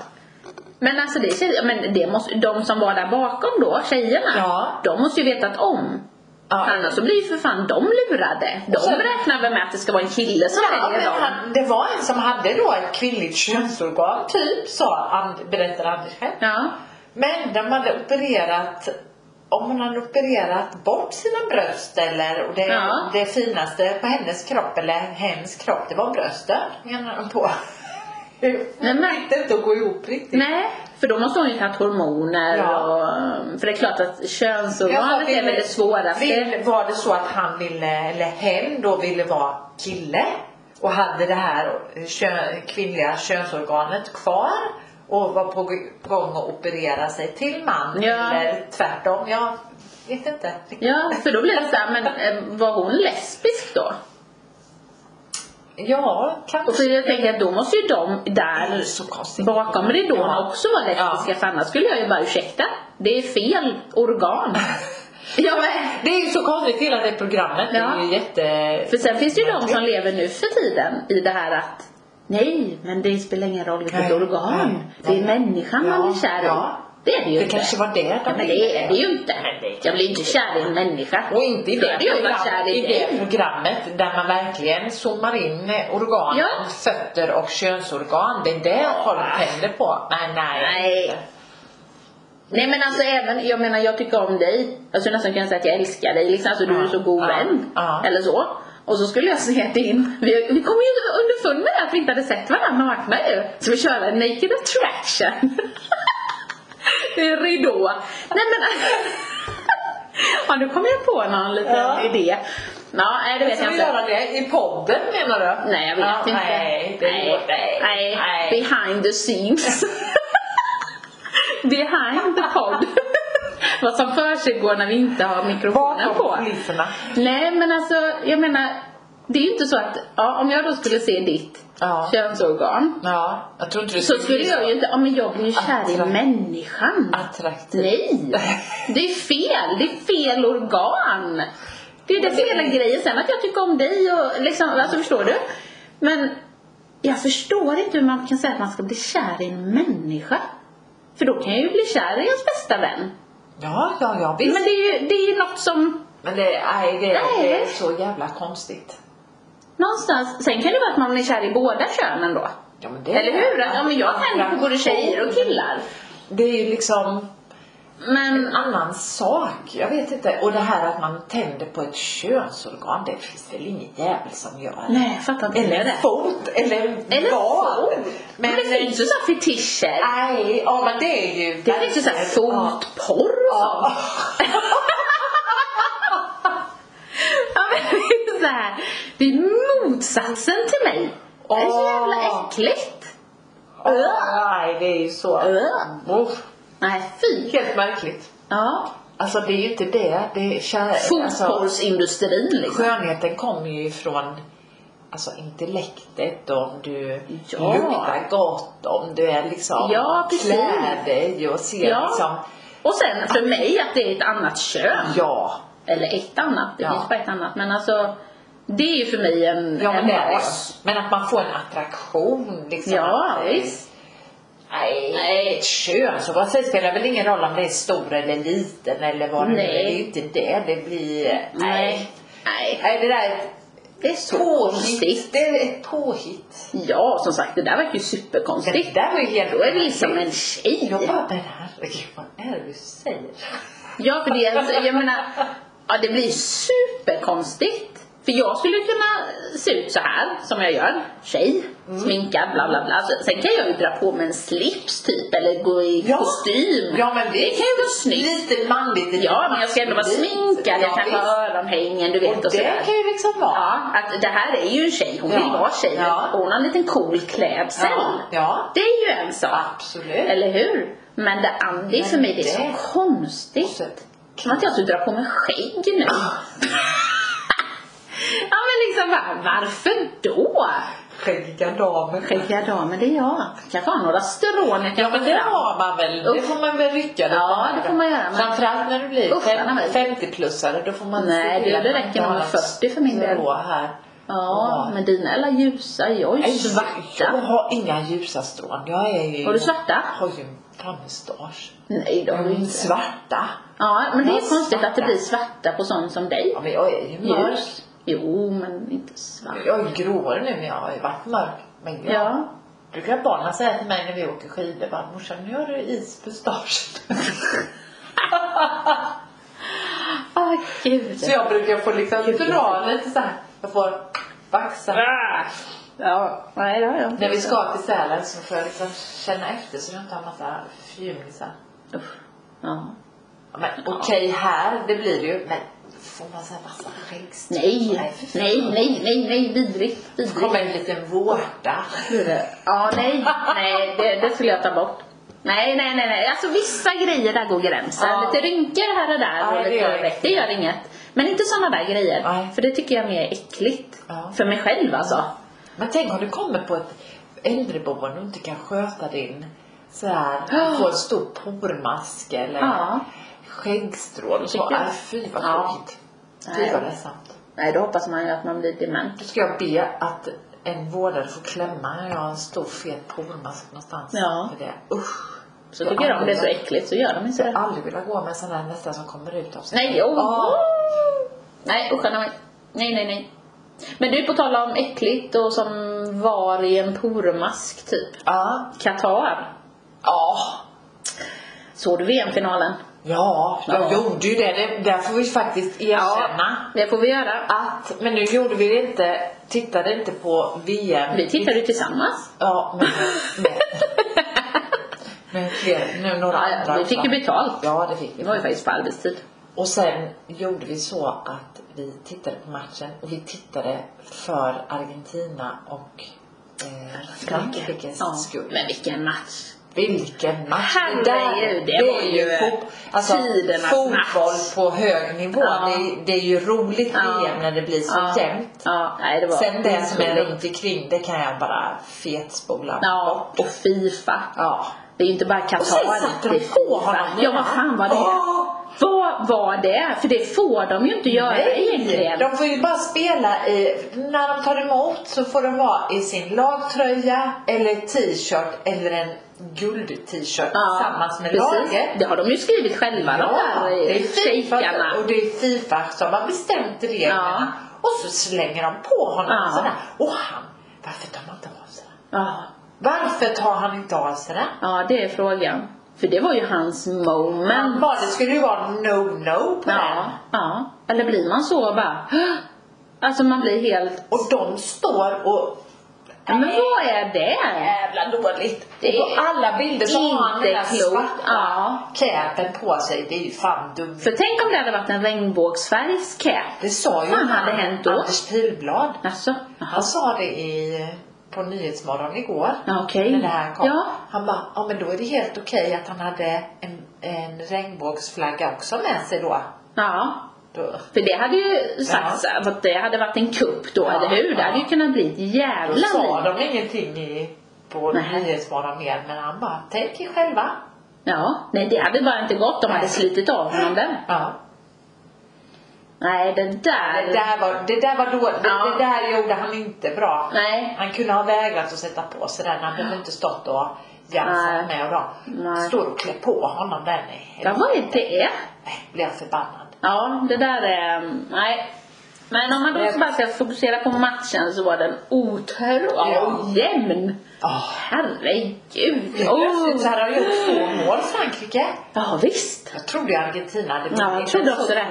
Men alltså det känns, ja, men det måste, de som var där bakom då, tjejerna, Ja. de måste ju vetat om. Ja. Annars så blir ju för fan de lurade. De Och sen- räknar väl med att det ska vara en kille som Ja, men väljer dem. han, det var en som hade då ett kvinnligt könsorgan, typ, sa And, berättade Anders själv. Ja. Men de hade opererat, om hon hade opererat bort sina bröst eller, och det, Ja. det finaste på hennes kropp eller hennes kropp, det var brösten menar de på. Nej, Nej, men- men inte inte att gå ihop riktigt. Nej, för då måste hon ju tagit hormoner Ja. och... För det är klart att Jag sa, könsorganet är vill- väl det svåraste. Vill, var det så att han ville, eller hen då ville vara kille och hade det här eh, kön, kvinnliga könsorganet kvar och var på g- gång att operera sig till man Ja. eller tvärtom? Jag vet inte. Ja, för då blir det såhär, men eh, var hon lesbisk då? Ja, kanske. Och för jag tänker att då måste ju de Det är där så konstigt. bakom ridån Ja. också vara lesbiska Ja. för annars skulle jag ju bara ursäkta, det är fel organ. ja, men, Det är ju så konstigt hela det programmet. Det Ja. är ju jätte... för sen finns det ju de som lever nu för tiden i det här att Nej, men det spelar ingen roll vilket Nej, organ. nej, Det är nej. människan man Ja, blir kär i. ja. Det är det ju Det inte. kanske var det ja, de men det är det ju inte. Jag blir inte kär i en människa. Och inte i Då det, hade jag ju varit kär program, i i dig. det programmet där man verkligen zoomar in organ, Ja. fötter och könsorgan. Det är det folk tänder på. Nej, nej. Nej. Nej men alltså även, jag menar jag tycker om dig. Alltså nästan kan jag säga att jag älskar dig liksom. Alltså du är Ja, så god ja, vän. ja. Eller så. Och så skulle jag se din, vi, vi kom ju underfund med det att vi inte hade sett varandra nakna ju. Så vi körde en naked attraction. det är ridå. Nej men Ja nu kom jag på någon liten Ja. idé. Ja, nej det vet Ska jag vi inte. göra det i podden menar du? Nej jag vet Ja, inte. Nej, det nej, går- nej, nej. nej. Behind the scenes. Behind the pod. Vad som försiggår när vi inte har mikrofonen på. Bakom kulisserna. Nej men alltså jag menar. Det är ju inte så att ja, om jag då skulle se ditt Ja. könsorgan. Ja, jag tror inte du Så skulle jag ju inte, ja men jag blir ju kär i Attra- människan. Alltså, attraktiv. Nej! Det är fel! Det är fel organ! Det är det fel grejen. Sen att jag tycker om dig och liksom, alltså förstår du? Men jag förstår inte hur man kan säga att man ska bli kär i en människa. För då kan jag ju bli kär i ens bästa vän. Ja, ja, ja visst. Men, Men det är ju, det är ju något som det, nej, det, Nej. det är så jävla konstigt. någonstans, sen kan det vara att man blir kär i båda könen då. Ja, men det Eller hur? Att, ja men jag tänder på både tjejer och killar. Det är ju liksom en Men annan sak. Jag vet inte. Och det här att man tänder på ett könsorgan, det finns väl ingen jävel som gör. nej, jag fattar inte Eller heller en det. fot, eller, Eller vad. fot. Men, det finns ju sådana fetischer. Nej, ja men det är ju... Det finns ju såhär fotporr och sånt. Ja. Ja, men det är så här. Det är motsatsen till mig. Det är så jävla Åh. äckligt. Ja. Nej, det är ju så. Uff. Nej, fy. Helt märkligt. Ja. Alltså det är ju inte det. det är kär, alltså, Fotbollsindustrin liksom. skönheten kommer ju ifrån alltså intellektet om du Ja. luktar gott, om du är liksom Ja, precis. klär dig och ser Ja. liksom Och sen för mig att det är ett annat kön. Ja. Eller ett annat. Det Ja. finns bara ett annat. Men alltså. Det är ju för mig en, Ja men en det är det ju. bas. Men att man får en attraktion liksom. Ja, att, eh, visst. Nej, Nej. ett kön så vad säger, spelar väl ingen roll om det är stor eller liten eller vad det nu är. Nej. Det är ju inte det. Det blir... eh, Nej. Nej. Nej, det där är ett Det är så påhitt. konstigt. Det är ett påhitt. Ja, som sagt. Det där verkar ju Men superkonstigt. det där var ju helt... Då är vi liksom en tjej. Jag bara, men herregud vad är det du säger? Ja, för det är alltså, jag menar, ja, det blir superkonstigt. För jag skulle ju kunna se ut så här som jag gör, tjej, Mm. sminkad, bla bla bla. Så- Sen kan jag ju dra på mig en slips typ eller gå i Ja. kostym. Ja, men det, visst. kan ju vara snyggt. Lite manligt, lite Ja, men jag ska ändå vara maskulint. sminkad, jag Ja, kan visst. ha öronhängen, du vet och, Och sådär. det kan ju liksom vara. Ja, att det här är ju en tjej, hon vill Ja. vara tjej. Ja. Hon har en liten cool klädsel. Ja, ja. Det är ju en sak. absolut. Eller hur? Men det andra är för Men mig det är det- så konstigt. Så- Som att jag skulle dra på mig skägg nu. ja men liksom va- varför då? Skäggadamer. Skäggiga damer det är jag. Kanske har några strån jag kan Ja men det har man väl. Det Usch. får man väl rycka lite Ja, med. det får man göra, men- Framförallt när du blir Usch, vad nice. 50-plussare. Då får man Nej, se till det- att det man räcker inte nog har med något 40 för min del. grå här. Ja, men dina är alla ljusa. Jag är ju Nej, Jag svarta. har inga ljusa strån. Jag är ju... Har du svarta? Jag har ju en tandmustasch. Nej, det har du Mm, inte. Svarta. Ja, men det är Jag har konstigt att det svarta. blir svarta på sån som dig. Ja men jag är ju mörk. Ljus. Jo, men inte svart. Jag är gråare nu men jag har ju varit mörk. Men jag Ja. brukar barnen säga till mig när vi åker skidor. Bara, morsan nu har du is på mustaschen. Åh, gud. Så jag brukar få liksom Gud. dra lite såhär. Jag får baxa. Ja, nej det har jag inte. När vi ska till Sälen så får jag liksom känna efter så jag inte har massa fjumisar. Usch. Ja. Ja, Men okej, här det blir det ju. Men får man så här massa skäggstrån? Nej, för fan. nej, nej, nej, nej, vidrigt, Så vidrigt. kommer en liten vårta. blir det. Ja, nej, nej, det, det skulle jag ta bort. Nej, nej, nej, nej. Alltså vissa grejer där går gränsen. Ja. Lite rynkor här och där Nej, och det lite gör det, det gör inget. Men inte sådana där grejer. Nej. För det tycker jag är mer äckligt. Ja. För mig själv alltså. Men tänk om du kommer på ett äldreboende och inte kan sköta din så här, du får en stor pormask eller Ja. skäggstrån. Så, Tycker jag. nej, fy vad Ja. tråkigt. Nej. Fy vad ledsamt. Nej, då hoppas man ju att man blir dement. Då ska jag be att en vårdare får klämma när jag har en stor fet pormask någonstans. Ja. För det. Usch. Så Jag tycker de det är så aldrig- äckligt så gör de inte Jag skulle det. aldrig vilja gå med en sån där nästan som kommer ut av sig. Nej, jo. Ja. Nej, usch, nej, nej, nej, nej. Men du, på tal om äckligt och som var i en pormask typ. Ja. Qatar. Ja. Såg du VM-finalen? Ja, jag Ja. gjorde ju det. det. Där får vi faktiskt erkänna. Det får vi göra. Att, men nu gjorde vi det inte, tittade inte på VM. Vi tittade ju tillsammans. Ja, men med, med fler, nu några Ja, andra. ja, vi fick ju också. betalt. Ja, det fick Det vi. var ju faktiskt på arbetstid. Och sen gjorde vi så att vi tittade på matchen och vi tittade för Argentina och eh, Frankrikes Ja, skull. Men vilken match! Vilken match! Herregud, det var ju eh, fot- alltså, tidernas fotboll match. på hög nivå. Ja. Det, är- det är ju roligt Ja. VM när det blir så Ja. jämnt. Ja, nej, det var Sen det som är otroligt. runt omkring, det kan jag bara fetspola Ja, bort. och Fifa. Ja. Det är ju inte bara Och sen Qatar. satte det de är på Fifa. honom. Ja, vad fan var det? Åh! Vad var det? För det får de ju inte göra Nej, egentligen. de får ju bara spela i, när de tar emot så får de vara i sin lagtröja eller t-shirt eller en guld-t-shirt tillsammans med laget. Det har de ju skrivit själva de där det är eh, FIFA shejkarna. och det är Fifa som har bestämt reglerna. Och så slänger de på honom Ja. sådär. Och han, varför tar man inte av sig det? Ja, Varför tar han inte av sig det? ja, det är frågan. För det var ju hans moment. Men bara det skulle ju vara no-no på Ja, den. ja. Eller blir man så bara "Hå!" Alltså man blir helt Och de står och Men vad är det? jävla dåligt. Det och på är alla bilder så har han den där Inte klokt. svarta Ja. capen på sig. Det är ju fan dumt. För tänk om det hade varit en regnbågsfärgscap. Det sa ju Fan, hade hänt då? Anders Pilblad. Alltså, jaha. Han sa det i, på Nyhetsmorgon igår. Ja, okej. När det här kom. Ja. Han bara, ja men då är det helt okej att han hade en, en regnbågsflagga också med sig då. Ja. då. För det hade ju sagts att det hade varit en kupp då, Ja, eller hur? Det ja. hade ju kunnat bli ett jävla Då sa liv. de ingenting i, på Nej. Nyhetsmorgon mer. Men han bara, tänk er själva. Ja, nej det hade bara inte gått. De hade Nej. slitit av honom den. Ja. Nej, det där. Det där var, det där var dåligt. Ja. Det, det där gjorde han inte bra. Nej. Han kunde ha vägrat att sätta på sig den. Han behövde inte stått och Nej. jamsat med och då. Nej. Står och klär på honom den. i- Ja, vad är det? Nej, blir jag förbannad. Ja, det där är... Nej. Men om man då Det- bara ska fokusera på matchen så var den otroligt Oh. Herregud. Plötsligt så Oh. hade han gjort två mål Frankrike. Ja, visst. Jag trodde ju Argentina hade Ja, jag vunnit. trodde Så också det.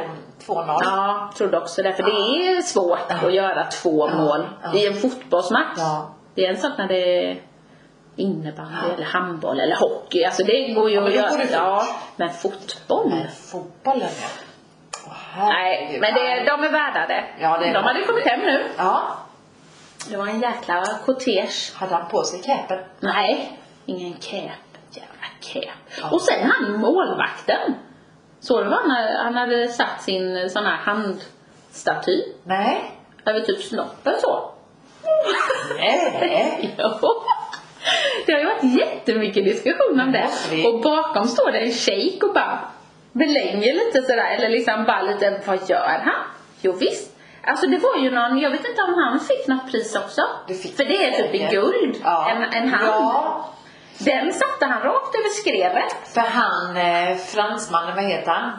2-0. Ja, trodde också det. För det är svårt att göra två mål Ja. i en fotbollsmatch. Ja. Det är en sak när det är innebandy eller handboll eller hockey. Alltså det går ju Ja, men att då går göra. det fort. Ja, men fotboll? Men fotbollen ja. Åh, Nej, herregud. men det, de är värda det. Ja, det är de bra. hade kommit hem nu. Ja, Det var en jäkla kortege. hade han på sig capen? Nej, ingen cap. Jävla cap. Ja. Och sen han ju målvakten. Såg du vad han, han hade satt sin eh, sån här handstaty Nej. över typ snoppen så? Nej. Jo. Det har ju varit jättemycket diskussion om det. Måste vi- Och bakom står det en shejk och bara belänger lite sådär. Eller liksom bara lite, vad gör han? Jo, visst. Alltså det var ju någon, jag vet inte om han fick något pris också. Det fick För det är typ i säkert. guld. Ja. En, en hand. Ja. Den satte han rakt över skrevet. För han eh, fransmannen, vad heter han?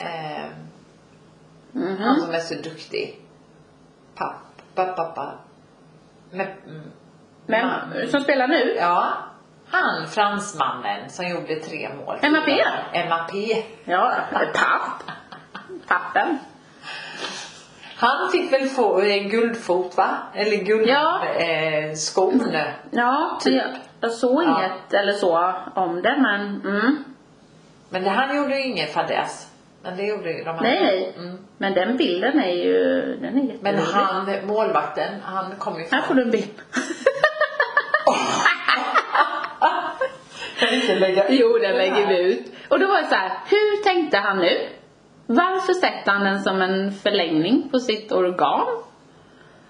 Eh, Mhm. Han som är så duktig. Papp, papp, papp, papp. Men, mm, Men, som spelar nu. ja. Han fransmannen som gjorde tre mål. MAP? MAP. Ja, papp. Pappen. Han fick väl få en guldfot va? Eller guld Ja. eh, skon. Ja, men jag, jag såg Ja. inget eller så om det men mm. Men det, han gjorde ju ingen fadäs. Men det gjorde ju de andra. Nej, nej. Mm. Men den bilden är ju, den är jätterolig. Men han, målvakten, han kom ju Här får fram. du en bild. Kan vi inte lägga ut Jo, den lägger vi ut. Och då var det så här, hur tänkte han nu? Varför sätter han den som en förlängning på sitt organ?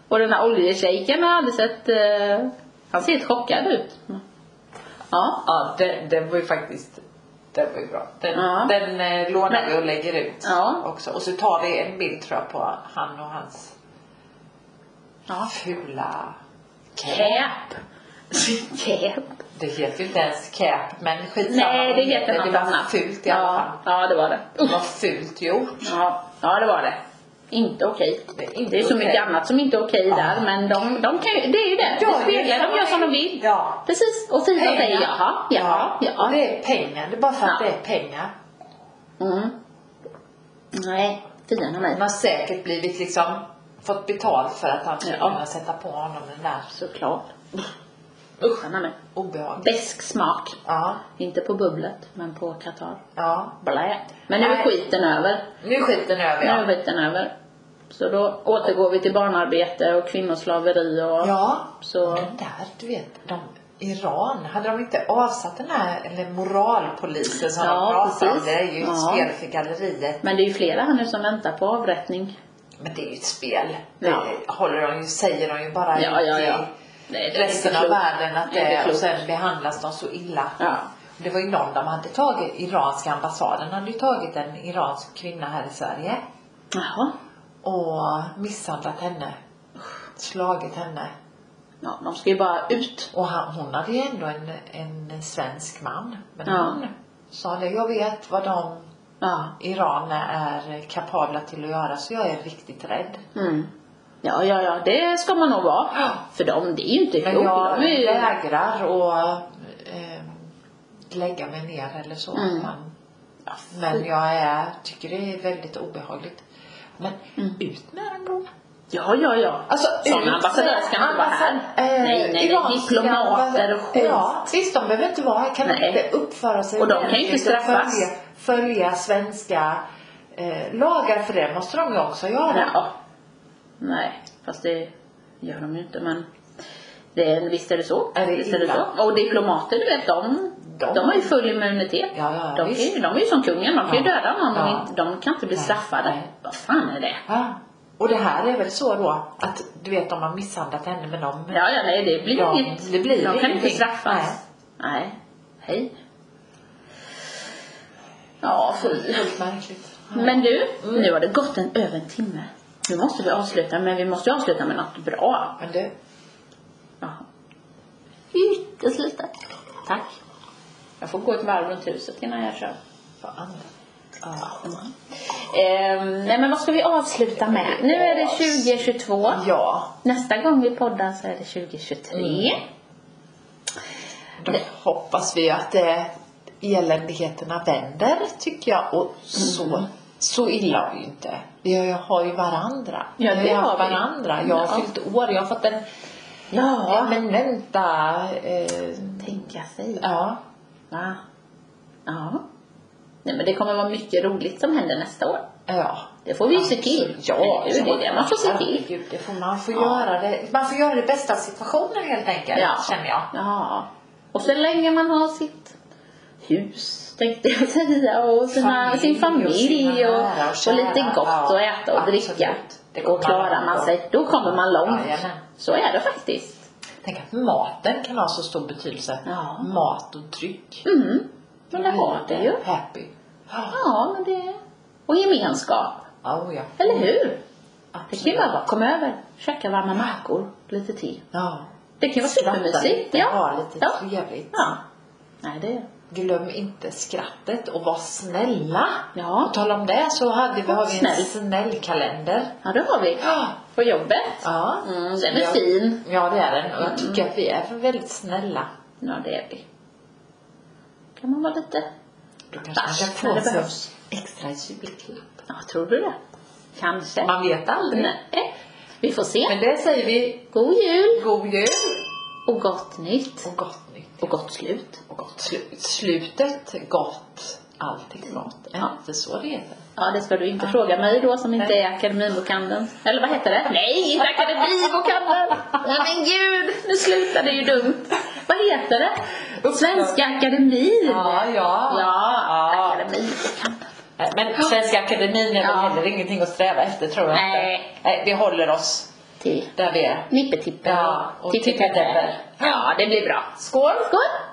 Och den här oljeshejken har jag aldrig sett, eh, han ser helt chockad ut. Ja. Ja, den, den var ju faktiskt den var ju bra. Den, Ja. den eh, lånar Men- vi och lägger ut Ja. också. Och så tar vi en bild tror jag på han och hans Ja. fula cap. Cap. Cap. Det heter ju inte ens cap men skitsamma. Nej, det heter Det något var annat. fult i alla ja. fall. ja, det var det. Det var fult gjort. Ja, ja det var det. Inte okej. Det är inte Det är så okej. mycket annat som inte är okej där men de, de kan ju, det är ju det. Ja, det speglar, de gör som de vill. Ja. Precis, och Frida säger jaha, ja, Och ja. det är pengar. Det är bara för att Ja. det är pengar. Mm. Nej, Fina med Han mig. har säkert blivit liksom fått betalt för att han skulle Ja. kunna sätta på honom den där Såklart. Usch. Fina med. obehaget. Besk smak. Ja, Inte på bubblet, men på Qatar. ja. Blä. Men nu är Nej. skiten över. Nu är skiten över Nu ja. är skiten över. Så då återgår vi till barnarbete och kvinnoslaveri och Ja. så. Den där, du vet, de, Iran, hade de inte avsatt den här eller moralpolisen som Ja, de pratar om? precis. Det är ju ett Ja. spel för galleriet. Men det är ju flera här nu som väntar på avrättning. Men det är ju ett spel. Ja. Det håller de ju, säger de ju bara Ja, ut ja, i ja. Nej, det är resten inte av klokt. världen att Det är det inte är och klokt. sen behandlas de så illa. Ja. Det var ju någon de hade tagit, iranska ambassaden hade ju tagit en iransk kvinna här i Sverige Jaha. och misshandlat henne. Slagit henne. Ja, de ska ju bara ut. Och han, hon hade ju ändå en, en svensk man. Men Ja. han sa det, jag vet vad de Ja. iraner är kapabla till att göra så jag är riktigt rädd. Mm. Ja, ja, ja, det ska man nog vara. Ja. För de, det är ju inte Men klokt. jag De är ju... vägrar och eh, lägga mig ner eller så. Mm. Men, men jag är, tycker det är väldigt obehagligt. Men ut med den då. Ja, ja, ja. Alltså, Sån ut ambassadör med ska inte vara här. ambassad- eh, nej, nej, nej. iranska Diplomater och ambassadör- skit. Ja, visst de behöver inte vara här. Kan de Nej. inte uppföra sig Och de kan ju ordentligt inte och straffas. Följa, följa svenska eh, lagar för det måste de ju också göra. Ja. Nej, fast det gör de ju inte men det är, visst är det så. Är det visst är det illa? så. Och diplomater du vet de, De- de, har ju full immunitet. Ja, ja, de, visst. är, ju- de är ju som kungen, de kan ju Ja. döda någon men Ja. inte, de kan inte bli Nej. straffade. Nej. Vad fan är det? Ja. Och det här är väl så då att du vet de har misshandlat henne men de Ja, ja, nej det blir Ja, inget. det blir de kan inte ingenting. straffas. Nej. nej. Hej. Ja, fy. Helt märkligt. Men du, Mm. nu har det gått en över en timme. Nu måste vi avsluta, men vi måste ju avsluta med något bra. Men du, Jaha. Uteslutad. Tack. Jag får gå ett varv runt huset innan jag kör. fan. Ja. Ehm, nej men vad ska vi avsluta med? Nu är det 2022. ja, Nästa gång vi poddar så är det 2023. Mm. då hoppas vi att eh, eländigheterna vänder tycker jag. Och så, Mm. så illa har vi ju inte. Vi har ju, har ju varandra. Ja, vi det har ju har haft vi. varandra. Jag har Ja. fyllt år, jag har fått en Ja. ja. eminenta... Eh, Tänka sig. ja. Va? Ja. Nej men det kommer vara mycket roligt som händer nästa år. Ja. Alltså, Det får vi ju se till. Ja, det är ju det man får se till. Herregud, det får man får Ja. göra. Det. Man får göra det bästa av situationen helt enkelt, Ja. känner jag. Ja. Och så länge man har sitt hus, tänkte jag säga, och sina, Familj sin och familj sina och, och, nära och kära. lite gott Ja, att äta och absolut. dricka. Det kommer Då klarar man man långt. sig. Då kommer man långt. Jajamän. Så är det faktiskt. Tänk att maten kan ha så stor betydelse. Ja. Mat och dryck. Mm. Men det har det ju. Happy. Ja, Ja, men det... Och gemenskap. oh, ja. Eller hur? Det Absolut. kan ju bara vara, kom över, käka varma mackor, lite te. Ja. Det kan vara supermysigt. lite, ha Ja. lite ja. trevligt. ja. Nej, det... Glöm inte skrattet och var snälla. Ja. På tal om det så hade vi, har vi en Snäll. snäll kalender. ja, det har vi. Ja. På jobbet. Ja. Mm, den är Ja. fin. Ja, det är den. Och jag tycker att vi är väldigt snälla. Ja, det är vi. Kan man vara lite... Då kanske man Fast, kan när få det sig behövs. extra julklapp. Ja, tror du det? Kanske. Man vet aldrig. Nej. Vi får se. Men det säger vi. God jul God jul och gott nytt. och gott nytt. Och gott slut. och gott. Slu- Slutet gott, allting gott. Är Ja. inte så det heter? Ja, det ska du inte fråga mig då som inte är akademibokhandeln. Eller vad heter det? Nej, inte akademibokhandeln! Nej men gud, nu slutar det ju dumt. Vad heter det? Svenska akademin. Ja, ja. Ja, Ja. akademibokhandeln. Nej, Men Svenska Akademin är väl Ja. heller ingenting att sträva efter tror jag Nej. inte. Nej. Vi håller oss Till där vi är. nippetippen Ja, och tippetippetäpper. tippetäpper. Ja, det blir bra. Skål! Skål!